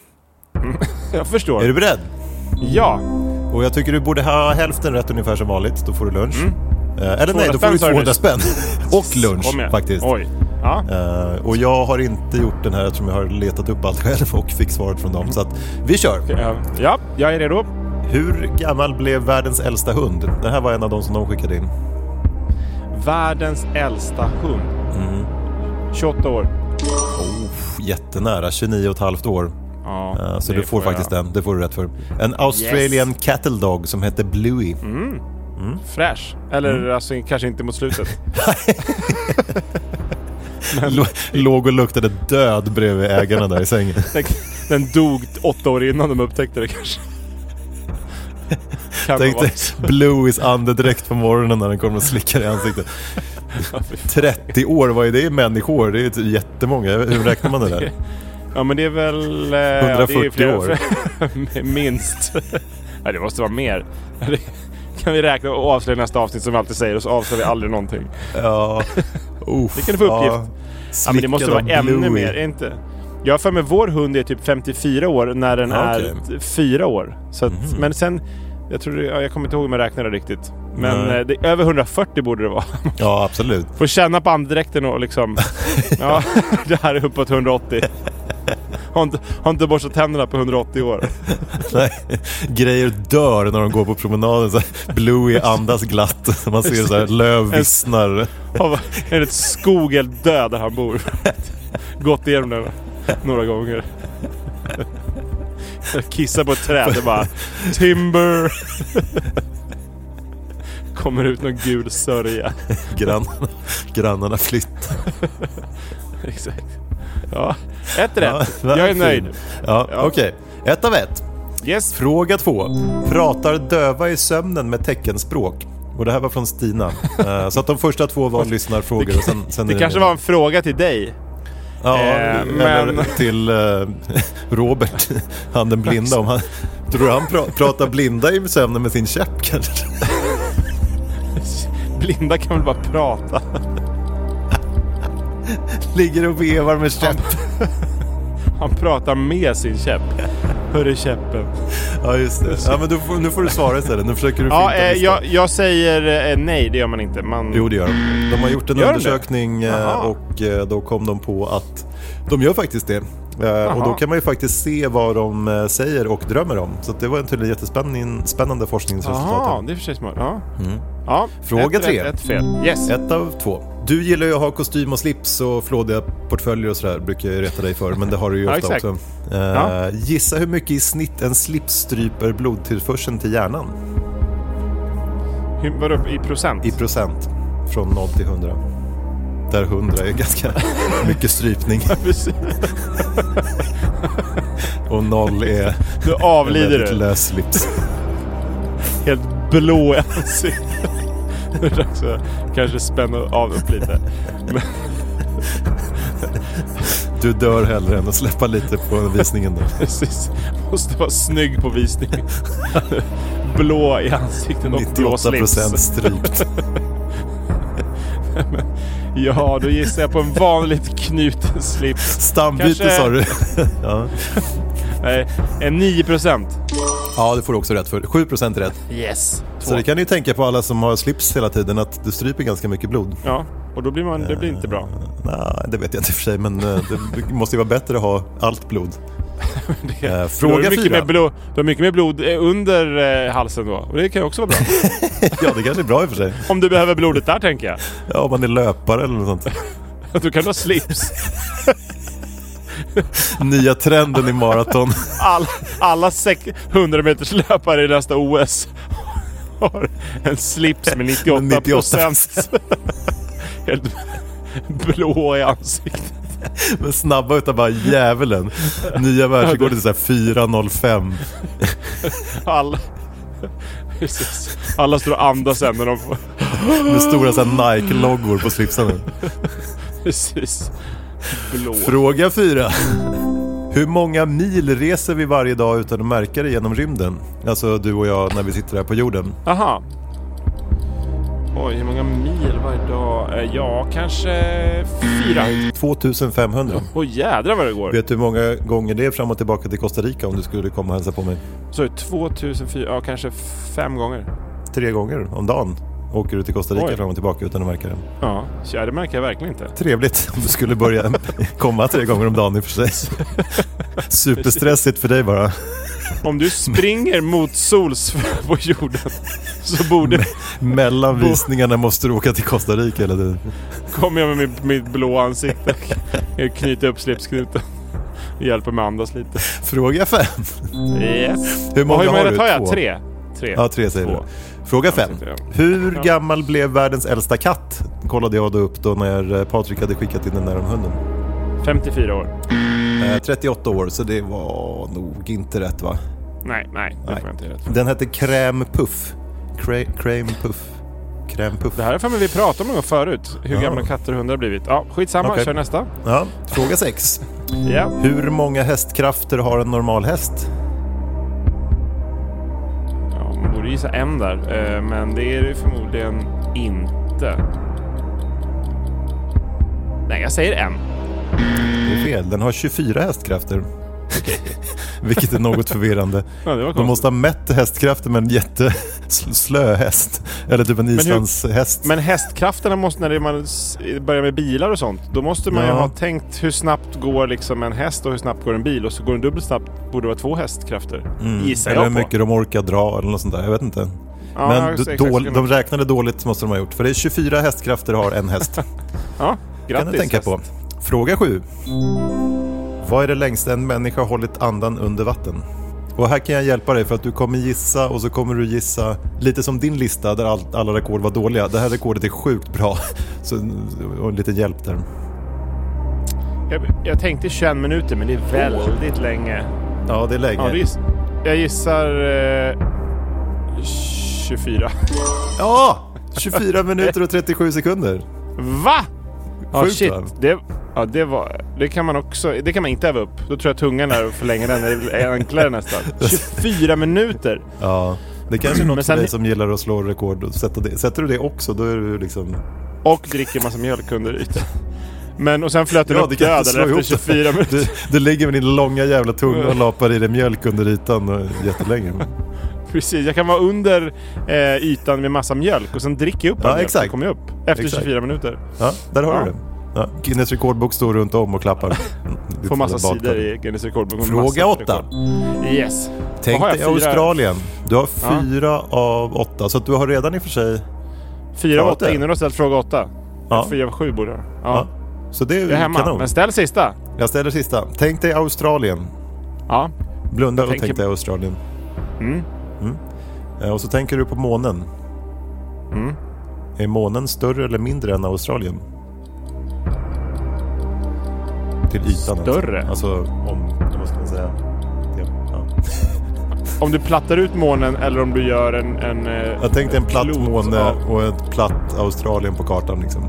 Speaker 2: Jag förstår.
Speaker 1: Är du beredd?
Speaker 2: Ja.
Speaker 1: Och jag tycker du borde ha hälften rätt ungefär som vanligt, då får du lunch. Eh, Eller nej, då får
Speaker 2: Mm. spänn
Speaker 1: du
Speaker 2: sa
Speaker 1: 200
Speaker 2: du nyss. *laughs*
Speaker 1: spänn. och
Speaker 2: Kom
Speaker 1: lunch
Speaker 2: igen.
Speaker 1: faktiskt.
Speaker 2: Oj. Ja.
Speaker 1: Eh, och jag har inte gjort den här eftersom jag har letat upp allt själv och fick svaret från dem. Så att vi kör!
Speaker 2: Ja, Ja, jag är redo.
Speaker 1: Hur gammal blev världens äldsta hund? Det här var en av de som de skickade in.
Speaker 2: Världens äldsta hund.
Speaker 1: Mm.
Speaker 2: 28 år.
Speaker 1: Oh, jättenära, 29 och ett halvt år.
Speaker 2: Ja,
Speaker 1: Eh, Så
Speaker 2: det
Speaker 1: du får
Speaker 2: jag.
Speaker 1: faktiskt den, det får du rätt för. En Australian cattle dog som hette Bluey.
Speaker 2: Mm.
Speaker 1: *laughs*
Speaker 2: Fräsch. Eller
Speaker 1: Mm.
Speaker 2: alltså kanske inte mot slutet.
Speaker 1: L- Låg och luktade död bredvid ägarna där i
Speaker 2: *laughs*
Speaker 1: sängen.
Speaker 2: Den, den dog åtta år innan de upptäckte det kanske. Kan det
Speaker 1: Tänkte
Speaker 2: vara så?
Speaker 1: Blueys andedräkt på morgonen när den kommer och slickar i
Speaker 2: *laughs*
Speaker 1: ansiktet. 30 år, vad är det i människor? Det är ju typ jättemånga. Hur räknar man det
Speaker 2: *laughs*
Speaker 1: där?
Speaker 2: Ja men det är väl... eh, ja,
Speaker 1: 140
Speaker 2: det är
Speaker 1: år.
Speaker 2: *laughs* Minst. Nej det måste vara mer. Det kan vi räkna och avslöja i nästa avsnitt som vi alltid säger och så avslöjar vi aldrig någonting.
Speaker 1: Ja, uff.
Speaker 2: Det kan du få uppgift. Ja, men det måste vara
Speaker 1: Slickad av
Speaker 2: ännu
Speaker 1: Bluey.
Speaker 2: mer, är inte? Jag har för mig vår hund är typ 54 år när den
Speaker 1: Ja,
Speaker 2: är
Speaker 1: okej. Mhm.
Speaker 2: t- fyra år. Så att, Men sen, jag, tror, det- ja, jag kommer inte ihåg om jag räknade riktigt. Men
Speaker 1: Nej.
Speaker 2: eh, det, över 140 borde det vara.
Speaker 1: Ja, absolut.
Speaker 2: *laughs* Får känna på andedräkten och liksom... ja, det här är uppåt 180. Har inte, har inte borstat tänderna på 180 år.
Speaker 1: *laughs* Nej, grejer dör när de går på promenaden. Så här, Bluey andas glatt. Man ser så här, löv vissnar.
Speaker 2: Av- Enligt skog helt död där han bor. Gått igenom den några gånger. Kissar på ett träd och bara Timber! Kommer ut någon gul sörja.
Speaker 1: Grannarna, grannarna flyttar.
Speaker 2: Exakt. Ja, ett rätt. Jag är nöjd.
Speaker 1: Ja, Okej, ett av ett.
Speaker 2: Yes.
Speaker 1: Fråga två. Pratar döva i sömnen med teckenspråk? Och det här var från Stina. Eh, Så att de första två var lyssnarfrågor. Och sen, sen är
Speaker 2: Det kanske var en fråga till dig.
Speaker 1: Ja,
Speaker 2: Eh,
Speaker 1: eller
Speaker 2: men-
Speaker 1: till eh, Robert, han den blinda. Om han, tror du han pra- pratar blinda i sömnen med sin käpp kanske?
Speaker 2: Blinda kan väl bara prata.
Speaker 1: Ligger och vevar med käpp.
Speaker 2: Han *laughs* pratar med sin käpp. Hör är käppen?
Speaker 1: Ja, just det. Ja, men du får, nu får du svara istället. Nu försöker du
Speaker 2: Ja,
Speaker 1: finta
Speaker 2: eh,
Speaker 1: listan.
Speaker 2: jag, jag säger eh, nej, det gör man inte. Man...
Speaker 1: Jo, det gör de. De har gjort en
Speaker 2: Gör de det?
Speaker 1: undersökning eh,
Speaker 2: Jaha.
Speaker 1: och eh, då kom de på att de gör faktiskt det. Eh, Och då
Speaker 2: Jaha.
Speaker 1: kan man ju faktiskt se vad de eh, säger och drömmer om. Så att det var en tydligen jättespännande spännande
Speaker 2: Jaha,
Speaker 1: forskningsresultat.
Speaker 2: det är för sig smart. Ja. Ja,
Speaker 1: Mm. Fråga
Speaker 2: ett,
Speaker 1: tre.
Speaker 2: Rätt, ett fel. Yes.
Speaker 1: Ett av två. Du gillar ju att ha kostym och slips och flådiga portföljer och sådär, brukar jag ju reta dig för, men det har du ju
Speaker 2: Ja,
Speaker 1: ofta
Speaker 2: exakt.
Speaker 1: också. Eh,
Speaker 2: Ja.
Speaker 1: Gissa hur mycket i snitt en slips stryper blodtillförseln till hjärnan
Speaker 2: Hur, vadå, i procent?
Speaker 1: i procent från 0 till 100. Där 100 är ganska *laughs* mycket strypning.
Speaker 2: Precis.
Speaker 1: *laughs* Och noll är
Speaker 2: Nu
Speaker 1: *laughs*
Speaker 2: avlider
Speaker 1: väldigt
Speaker 2: du.
Speaker 1: lös slips.
Speaker 2: Helt blå i ansiktet. *laughs* Nu är det dags att kanske spänna av upp lite. *laughs* Men,
Speaker 1: Du dör hellre än att släppa lite på visningen då.
Speaker 2: precis. Måste vara snygg på visning. *laughs* Blå i ansiktet och blå
Speaker 1: 98 procent
Speaker 2: slips.
Speaker 1: strypt.
Speaker 2: *laughs* Ja, då gissar jag på en vanligt knuten slips.
Speaker 1: Stambyte
Speaker 2: Kanske-
Speaker 1: sa du. *laughs* ja.
Speaker 2: Nej, en 9 procent.
Speaker 1: ja, det får du också rätt för. 7 procent rätt.
Speaker 2: Yes.
Speaker 1: Så det kan ni ju tänka på alla som har slips hela tiden, att du stryper ganska mycket blod.
Speaker 2: Ja, och då blir man, det blir inte bra.
Speaker 1: Eh, Nej, det vet jag inte i och för sig, men eh, det måste ju vara bättre att ha allt blod.
Speaker 2: *laughs*
Speaker 1: *laughs*
Speaker 2: Det-
Speaker 1: Eh,
Speaker 2: Då har
Speaker 1: Fråga
Speaker 2: du mycket
Speaker 1: fyra.
Speaker 2: mer blod- Du har mycket mer blod eh, under eh, halsen då. Och det kan ju också
Speaker 1: *laughs*
Speaker 2: vara bra.
Speaker 1: Ja, det kanske är bra i och för sig.
Speaker 2: Om du behöver blodet där tänker jag. *laughs*
Speaker 1: Ja, om man är löpare eller något sånt.
Speaker 2: Då kan du ha slips.
Speaker 1: Nya trenden i maraton.
Speaker 2: All, alla sek- 100 meters löpare i nästa OS *laughs* har en
Speaker 1: *laughs*
Speaker 2: slips med 98,
Speaker 1: Med 98.
Speaker 2: procent. *laughs* Helt blå i ansiktet.
Speaker 1: Men snabba utan bara djävulen. Nya världsrekordet är så här 4.05.
Speaker 2: Alla, *laughs* Precis. alla står och andas sen när de får... *laughs*
Speaker 1: Med stora så här Nike-loggor på slipsarna.
Speaker 2: Precis. Blå.
Speaker 1: Fråga fyra. Hur många mil reser vi varje dag utan att märka det genom rymden? Alltså du och jag när vi sitter här på jorden.
Speaker 2: Aha. Oj, hur många mil varje dag? Eh, Ja, kanske fyra.
Speaker 1: 2500.
Speaker 2: Åh jädrar vad det går.
Speaker 1: Vet du hur många gånger det är fram och tillbaka till Costa Rica om du skulle komma och hälsa på mig?
Speaker 2: Så är det 2004, ja kanske fem gånger.
Speaker 1: Tre gånger om dagen åker du till Costa Rica
Speaker 2: Oj.
Speaker 1: fram och tillbaka utan att märka det.
Speaker 2: Ja, så ja, det märker jag verkligen inte.
Speaker 1: Trevligt om du skulle börja komma tre gånger om dagen i och för sig. Superstressigt för dig bara.
Speaker 2: Om du springer mot sols *laughs* på jorden så borde...
Speaker 1: Mellan visningarna måste du åka till Costa Rica hela tiden.
Speaker 2: Kommer jag med mitt, mitt blå ansikte. Jag knyter upp slipsknuten. Det hjälper mig att andas lite.
Speaker 1: Fråga fem.
Speaker 2: Yes.
Speaker 1: Hur många
Speaker 2: Och
Speaker 1: har
Speaker 2: rätt
Speaker 1: du?
Speaker 2: Har jag?
Speaker 1: Två.
Speaker 2: Tre. Tre.
Speaker 1: Ja, tre säger
Speaker 2: Två.
Speaker 1: du. Fråga fem.
Speaker 2: sitter jag.
Speaker 1: Hur
Speaker 2: Ja.
Speaker 1: gammal blev världens äldsta katt? Kollade jag då upp då när eh, Patrik hade skickat in den där om hunden.
Speaker 2: 54 år.
Speaker 1: Eh, 38 år, så det var nog inte rätt va?
Speaker 2: Nej, nej. Det får jag inte rätt för.
Speaker 1: Den hette Crème Puff. Cra- Crème Puff. Crème Puff.
Speaker 2: Det här är för mig vi pratade om någon gång förut. Hur
Speaker 1: Ja.
Speaker 2: gamla katter och hundar har blivit. Ja, skitsamma.
Speaker 1: Okej.
Speaker 2: Kör nästa.
Speaker 1: Ja, fråga sex.
Speaker 2: Ja.
Speaker 1: Hur många hästkrafter har en normal häst?
Speaker 2: Ja, man borde gissa en där, eh, men det är det förmodligen inte. Nej, jag säger en.
Speaker 1: Det är fel, den har 24 hästkrafter. *laughs* Vilket är något förvirrande.
Speaker 2: Ja, det var
Speaker 1: De
Speaker 2: konstigt.
Speaker 1: måste ha mätt hästkraften med en jätteslö häst. Eller typ en
Speaker 2: hur-
Speaker 1: islandshäst.
Speaker 2: Men hästkrafterna måste, när det- man s- börjar med bilar och sånt, då måste man ju
Speaker 1: Ja.
Speaker 2: ha tänkt hur snabbt går liksom en häst och hur snabbt går en bil. Och så går den dubbelt snabbt, borde det vara två hästkrafter. Gissar
Speaker 1: Mm. eller hur
Speaker 2: jag på.
Speaker 1: mycket de orkar dra eller något sånt där. Jag vet inte.
Speaker 2: Ja,
Speaker 1: Men
Speaker 2: exakt,
Speaker 1: d-
Speaker 2: exakt.
Speaker 1: dål, de räknade dåligt måste de ha gjort. För det är 24 hästkrafter har en häst.
Speaker 2: Ja,
Speaker 1: kan
Speaker 2: grattis
Speaker 1: du tänka
Speaker 2: häst.
Speaker 1: på. Fråga 7. Vad är det längsta en människa hållit andan under vatten? Och här kan jag hjälpa dig för att du kommer gissa och så kommer du gissa lite som din lista där all, alla rekord var dåliga. Det här rekordet är sjukt bra. *laughs* Så och en liten hjälp där.
Speaker 2: Jag, jag tänkte 21 minuter, men det är väldigt länge.
Speaker 1: Ja, det är länge.
Speaker 2: Ja, du giss, jag gissar eh, 24.
Speaker 1: Ja! 24 minuter och 37 sekunder.
Speaker 2: Va? Ja,
Speaker 1: Sjukt,
Speaker 2: shit.
Speaker 1: va?
Speaker 2: Det, ja, det, var, det kan man också... Det kan man inte öva upp. Då tror jag tungan är att förlänga den. Det är
Speaker 1: *laughs*
Speaker 2: enklare nästan. 24 minuter!
Speaker 1: Ja, det kanske är
Speaker 2: Men
Speaker 1: något
Speaker 2: sen-
Speaker 1: för dig som gillar att slå rekord. och Sätta det. Sätter du det också, då är du liksom...
Speaker 2: Och dricker massa mjölk under ytan. Men och sen flöt den
Speaker 1: Ja,
Speaker 2: upp
Speaker 1: det kan
Speaker 2: död
Speaker 1: inte slå
Speaker 2: eller efter
Speaker 1: ihop *laughs*
Speaker 2: 24 minuter.
Speaker 1: Du, du ligger med din långa jävla tunga och lapar i dig mjölk under ytan och- jättelänge.
Speaker 2: Precis, jag kan vara under eh, ytan med massa mjölk och sen dricker jag upp
Speaker 1: Ja,
Speaker 2: all mjölk.
Speaker 1: exakt.
Speaker 2: och kommer jag upp efter
Speaker 1: Exakt.
Speaker 2: 24 minuter.
Speaker 1: Ja, där har
Speaker 2: Ja.
Speaker 1: du det. Ja, Guinness rekordbok står runt om och klappar.
Speaker 2: Får massa
Speaker 1: Badkar.
Speaker 2: sidor i Guinness rekordbok. med
Speaker 1: Fråga
Speaker 2: massa
Speaker 1: åtta.
Speaker 2: rekord. Yes.
Speaker 1: Tänk
Speaker 2: Vad har
Speaker 1: dig
Speaker 2: jag? Fyra-
Speaker 1: Australien. Du har
Speaker 2: Ja.
Speaker 1: fyra av åtta, så att du har redan i och för sig...
Speaker 2: Fyra av
Speaker 1: Ja,
Speaker 2: åtta
Speaker 1: det.
Speaker 2: innan du har ställt fråga åtta.
Speaker 1: Ja.
Speaker 2: Fyra av sju borde jag ha.
Speaker 1: Ja.
Speaker 2: Ja.
Speaker 1: Så det är,
Speaker 2: Jag är hemma,
Speaker 1: kanon.
Speaker 2: men ställ sista.
Speaker 1: Jag ställer sista. Tänk dig Australien.
Speaker 2: Ja.
Speaker 1: Blunda och
Speaker 2: tänker-
Speaker 1: tänk dig Australien. Mm. Eh, Och så tänker du på månen.
Speaker 2: Mm.
Speaker 1: Är månen större eller mindre än Australien? Till ytan
Speaker 2: Större?
Speaker 1: Alltså, alltså om, vad ska man säga? Ja, ja.
Speaker 2: Om du plattar ut månen eller om du gör en... en eh,
Speaker 1: Jag tänkte en platt
Speaker 2: klot
Speaker 1: måne
Speaker 2: av-
Speaker 1: och ett platt Australien på kartan liksom.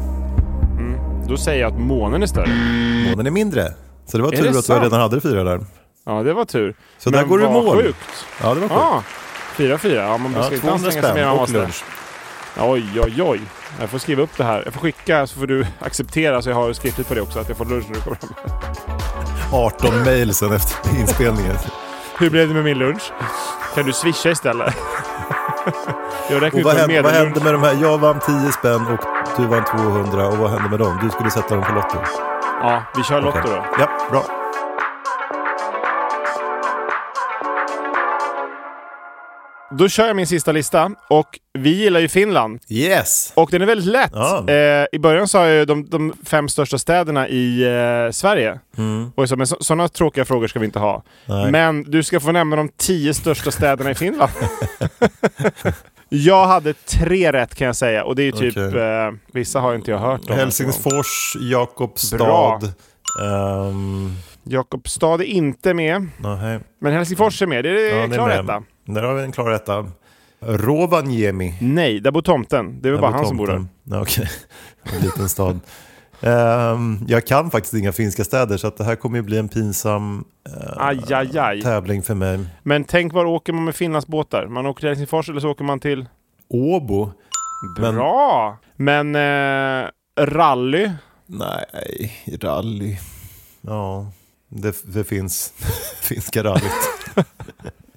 Speaker 2: Då säger jag att månen är större.
Speaker 1: Månen är mindre. Så det var
Speaker 2: Är
Speaker 1: tur
Speaker 2: det
Speaker 1: att jag
Speaker 2: sant?
Speaker 1: redan hade fyra där.
Speaker 2: Ja, det var tur.
Speaker 1: Så där går du i
Speaker 2: vad
Speaker 1: mål.
Speaker 2: sjukt.
Speaker 1: Ja, det var sjukt.
Speaker 2: Ja, 4-4. Ja, man
Speaker 1: Ja,
Speaker 2: ska inte
Speaker 1: 200
Speaker 2: anstränga sig mer än
Speaker 1: spänn
Speaker 2: man
Speaker 1: och
Speaker 2: måste.
Speaker 1: lunch.
Speaker 2: Oj, oj, oj. Jag får skriva upp det här. Jag får skicka så får du *laughs* acceptera så jag har skriftligt på det också att jag får lunch när du kommer hem.
Speaker 1: 18 mejl sen efter *laughs* inspelningen.
Speaker 2: Hur blev det med min lunch? Kan du swisha istället? Jag räknar
Speaker 1: Och
Speaker 2: ut
Speaker 1: vad
Speaker 2: vad
Speaker 1: hände, vad hände
Speaker 2: medellunch...
Speaker 1: med de här? Jag vann 10 spänn och du vann 200. Och vad hände med dem? Du skulle sätta dem på Lotto.
Speaker 2: Ja, vi kör Lotto
Speaker 1: Okej.
Speaker 2: då.
Speaker 1: Ja, bra.
Speaker 2: Då kör jag min sista lista och vi gillar ju Finland.
Speaker 1: Yes!
Speaker 2: Och den är väldigt lätt.
Speaker 1: Ja.
Speaker 2: Eh, I början sa jag ju de, de fem största städerna i eh, Sverige. Och jag sa, men så, sådana tråkiga frågor ska vi inte ha.
Speaker 1: Mm. Nej.
Speaker 2: Men du ska få nämna de tio största städerna i Finland. jag hade tre rätt kan jag säga. Och det är ju typ,
Speaker 1: Okej.
Speaker 2: eh, vissa har inte jag hört om.
Speaker 1: Helsingfors,
Speaker 2: Bra.
Speaker 1: Jakobstad. Um,
Speaker 2: Jakobstad är inte med.
Speaker 1: nej.
Speaker 2: Men Helsingfors är med. Det är
Speaker 1: Ja, det är
Speaker 2: Eh, klar
Speaker 1: med.
Speaker 2: etta.
Speaker 1: Där har vi en klar etta. Rovaniemi.
Speaker 2: Nej, där bor tomten. Det är väl bara
Speaker 1: Där
Speaker 2: han
Speaker 1: var
Speaker 2: som bor där.
Speaker 1: tomten. Ja, okej. *laughs* En liten stad. Ehm, jag kan faktiskt inga finska städer så att det här kommer ju bli en pinsam eh,
Speaker 2: Aj, aj, aj.
Speaker 1: tävling för mig.
Speaker 2: Men tänk var åker man med Finlandsbåtar? Man åker till Helsingfors eller så åker man till
Speaker 1: Åbo? Men-
Speaker 2: Bra! Men eh, rally? *laughs*
Speaker 1: Nej, rally. Ja, det, det finns *laughs* finska rallyt.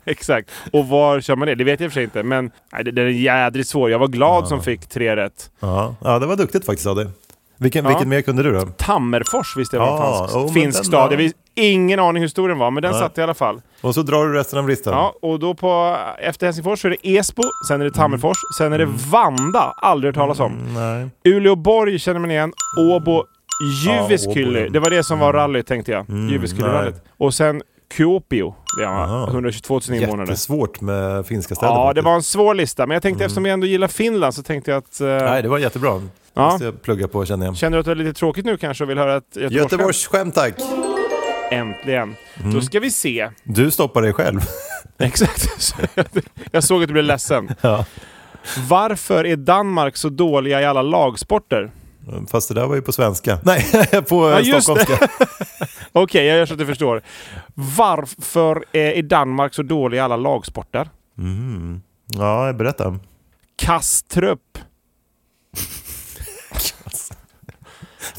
Speaker 2: Exakt. Och var kör man det? Det vet jag i och för sig inte. Men nej, det, den är jädrigt svår. Jag var glad som fick tre rätt.
Speaker 1: ja. ja, det var duktigt faktiskt av dig. Vilken, vilken mer kunde du då?
Speaker 2: Tammerfors visste jag var
Speaker 1: Ja,
Speaker 2: en
Speaker 1: jo, men
Speaker 2: fransk, finsk
Speaker 1: den
Speaker 2: stad.
Speaker 1: var-
Speaker 2: Jag vis, ingen aning hur stor den var, men den
Speaker 1: Nej.
Speaker 2: satt i alla fall.
Speaker 1: Och så drar du resten av listan.
Speaker 2: Ja, och då på, efter Helsingfors så är det Esbo, sen
Speaker 1: Mm.
Speaker 2: är det Tammerfors, sen är det Vanda. Aldrig hört talas om.
Speaker 1: Nej.
Speaker 2: Uleåborg känner man igen. Åbo, Jyväskylä.
Speaker 1: Ja, Mm. Åbo.
Speaker 2: det var det som var rallyt tänkte jag. Jyväskylä-rallyt. Och sen Kuopio. Det
Speaker 1: Aha.
Speaker 2: var 122 000 invånare.
Speaker 1: Jättesvårt med finska städer.
Speaker 2: Ja, det
Speaker 1: faktiskt. Mm.
Speaker 2: var en svår lista. Men jag tänkte eftersom jag ändå gillar Finland så tänkte jag att... eh,
Speaker 1: Nej, det var jättebra. Det
Speaker 2: Ja.
Speaker 1: måste jag plugga på känner jag.
Speaker 2: Känner du att det är lite tråkigt nu kanske och vill höra ett göteborgsskämt?
Speaker 1: Göteborgsskämt tack!
Speaker 2: Äntligen.
Speaker 1: Mm.
Speaker 2: Då ska vi se. *laughs*
Speaker 1: Du stoppar dig själv. *laughs*
Speaker 2: Exakt. Så jag- jag såg att du blev ledsen.
Speaker 1: Ja.
Speaker 2: Varför är Danmark så dåliga i alla lagsporter?
Speaker 1: Fast det där var ju på svenska. *laughs* Nej, på eh,
Speaker 2: just det.
Speaker 1: stockholmska.
Speaker 2: Okej, jag gör så att du förstår. Varför eh, är Danmark så dåliga i alla lagsporter?
Speaker 1: *laughs* Ja, berätta.
Speaker 2: Kastrup.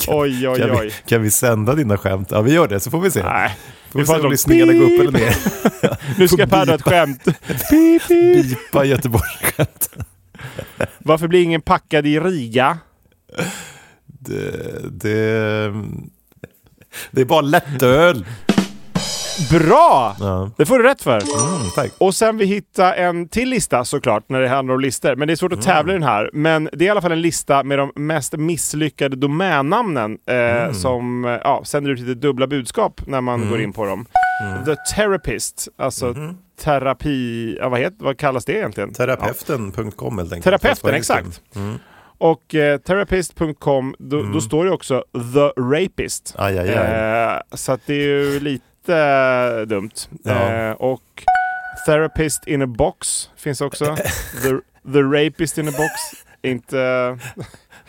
Speaker 2: Oj, oj,
Speaker 1: Kan vi,
Speaker 2: oj.
Speaker 1: kan vi sända dina skämt? Ja, vi gör det, så får vi se.
Speaker 2: Nej.
Speaker 1: Får vi
Speaker 2: Vi får
Speaker 1: se om
Speaker 2: de-
Speaker 1: lyssningarna går upp eller ner.
Speaker 2: Nu ska Per dra ett skämt. Pip,
Speaker 1: *laughs*
Speaker 2: pip.
Speaker 1: Bipa Göteborgsskämt.
Speaker 2: Varför blir ingen packad i Riga?
Speaker 1: Det, det, det är bara lättöl.
Speaker 2: Bra!
Speaker 1: Ja.
Speaker 2: Det får du rätt för.
Speaker 1: Mm, tack.
Speaker 2: Och sen vi hitta en till lista såklart när det handlar om listor. Men det är svårt att tävla i den här. Men det är i alla fall en lista med de mest misslyckade domännamnen eh,
Speaker 1: Mm.
Speaker 2: som eh, ja, sänder ut lite dubbla budskap när man går in på dem.
Speaker 1: Mm.
Speaker 2: The Therapist, alltså
Speaker 1: Mm-hmm.
Speaker 2: terapi... Ja, vad, heter, vad kallas det egentligen?
Speaker 1: Terapeuten.com helt enkelt. Fast på
Speaker 2: Terapeuten,
Speaker 1: engelska.
Speaker 2: exakt.
Speaker 1: Mm.
Speaker 2: Och eh, therapist.com, då, då står det också the rapist.
Speaker 1: Aj, aj, aj.
Speaker 2: Eh, så att det är ju lite eh, dumt.
Speaker 1: Ja.
Speaker 2: Eh, och therapist in a box
Speaker 1: *laughs*
Speaker 2: finns också. the, the rapist in a box. Inte eh,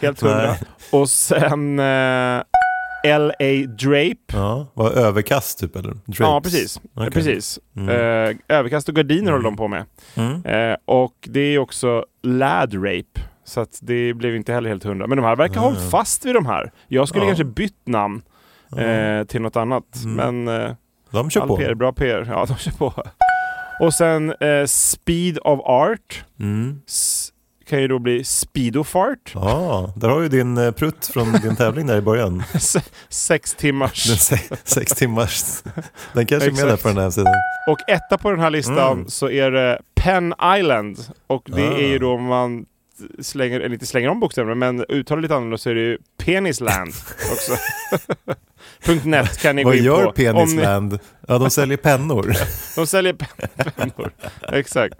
Speaker 2: helt hundra.
Speaker 1: Nej.
Speaker 2: Och sen eh, LA Drape.
Speaker 1: Ja, var överkast typ eller? Drapes.
Speaker 2: Ja, precis.
Speaker 1: Okej.
Speaker 2: precis.
Speaker 1: Mm.
Speaker 2: Eh, överkast och gardiner håller de på med.
Speaker 1: Mm.
Speaker 2: Eh, och det är också lad rape. Så att det blev inte heller helt hundra. Men de här verkar ha hållit fast vid de här. Jag skulle
Speaker 1: Ah. Ja.
Speaker 2: kanske bytt namn eh, till något annat.
Speaker 1: Mm.
Speaker 2: Men eh,
Speaker 1: De kör
Speaker 2: all
Speaker 1: på.
Speaker 2: PR är bra PR. Ja, de kör på. Och sen eh, speed of art.
Speaker 1: Mm.
Speaker 2: S- kan ju då bli speedofart.
Speaker 1: Ja, där har ju din eh, prutt från din tävling där i
Speaker 2: *laughs*
Speaker 1: början.
Speaker 2: Se- Sex timmars.
Speaker 1: Den se, sex timmars. Den kanske är med
Speaker 2: Exakt.
Speaker 1: där på den här sidan.
Speaker 2: Och etta på den här listan
Speaker 1: Mm.
Speaker 2: så är det Penn Island. Och det
Speaker 1: Ah.
Speaker 2: är ju då om man slänger, eller inte slänger om bokstäverna, men uttalar lite annorlunda så är det ju Penisland
Speaker 1: *laughs*
Speaker 2: också. Punkt .net kan ni gå
Speaker 1: Vad
Speaker 2: in
Speaker 1: gör
Speaker 2: på. Om ni-
Speaker 1: Penisland? Ja, de säljer pennor.
Speaker 2: De säljer pen- *laughs* pennor. Exakt.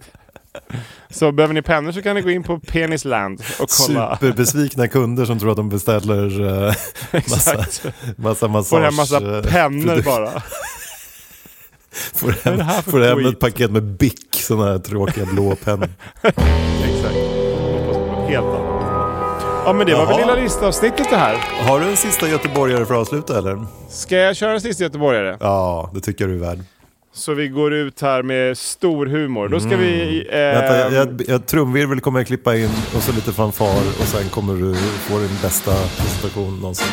Speaker 2: Så behöver ni pennor så kan ni gå in på Penisland och kolla.
Speaker 1: Superbesvikna kunder som tror att de beställer
Speaker 2: *laughs*
Speaker 1: eh, massa,
Speaker 2: Exakt.
Speaker 1: massa massage...
Speaker 2: Får hem massa
Speaker 1: eh,
Speaker 2: pennor
Speaker 1: produkter.
Speaker 2: bara.
Speaker 1: Får
Speaker 2: är det
Speaker 1: hem,
Speaker 2: här för
Speaker 1: får hem
Speaker 2: skit?
Speaker 1: ett paket med Bic, sådana här tråkiga blå pennor.
Speaker 2: Exakt. Hoppas på något helt annat. Ja men det var väl
Speaker 1: Jaha.
Speaker 2: lilla listavsnittet det här.
Speaker 1: *laughs* Har du en sista göteborgare för att avsluta eller?
Speaker 2: Ska jag köra en sista göteborgare?
Speaker 1: Ja, det tycker jag du är värd.
Speaker 2: Så vi går ut här med stor humor. Då ska vi... Eh,
Speaker 1: Mm. Vänta, jag, jag, jag, trumvirvel kommer jag klippa in och så lite fanfar och sen kommer du få din bästa presentation någonsin.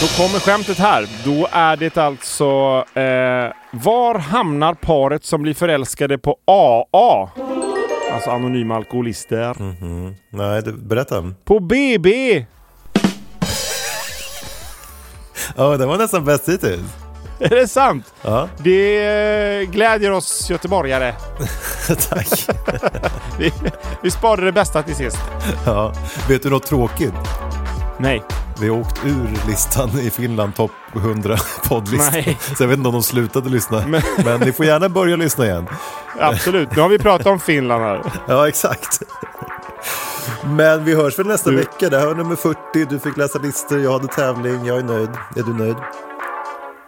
Speaker 2: Då kommer skämtet här. Då är det alltså... Eh, var hamnar paret som blir förälskade på AA? Alltså anonyma alkoholister.
Speaker 1: Mm. Nej, det, berätta.
Speaker 2: På BB!
Speaker 1: Ja, den var nästan bäst hittills.
Speaker 2: *laughs* Är det sant?
Speaker 1: Ja, *laughs*
Speaker 2: Det eh, glädjer oss göteborgare. *laughs*
Speaker 1: tack.
Speaker 2: Vi, vi sparade det bästa till sist.
Speaker 1: Ja. Vet du något tråkigt?
Speaker 2: Nej.
Speaker 1: Vi har åkt ur listan i Finland, topp *laughs* 100
Speaker 2: Nej.
Speaker 1: poddlistan. Så jag vet inte om de slutade lyssna. Men, ni får gärna börja lyssna igen.
Speaker 2: Absolut. Nu har vi pratat om
Speaker 1: *laughs*
Speaker 2: Finland här.
Speaker 1: Ja, exakt. Men vi hörs väl nästa vecka. Det här var nummer 40. Du fick läsa listor, jag hade tävling. Jag är nöjd. Är du nöjd?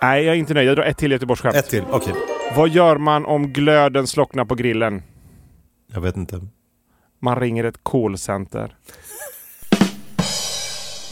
Speaker 2: Nej, jag är inte nöjd. Jag drar ett till Göteborgsskämt.
Speaker 1: Ett till, okej.
Speaker 2: Vad gör man om glöden slocknar på grillen?
Speaker 1: Jag vet inte.
Speaker 2: Man ringer ett callcenter.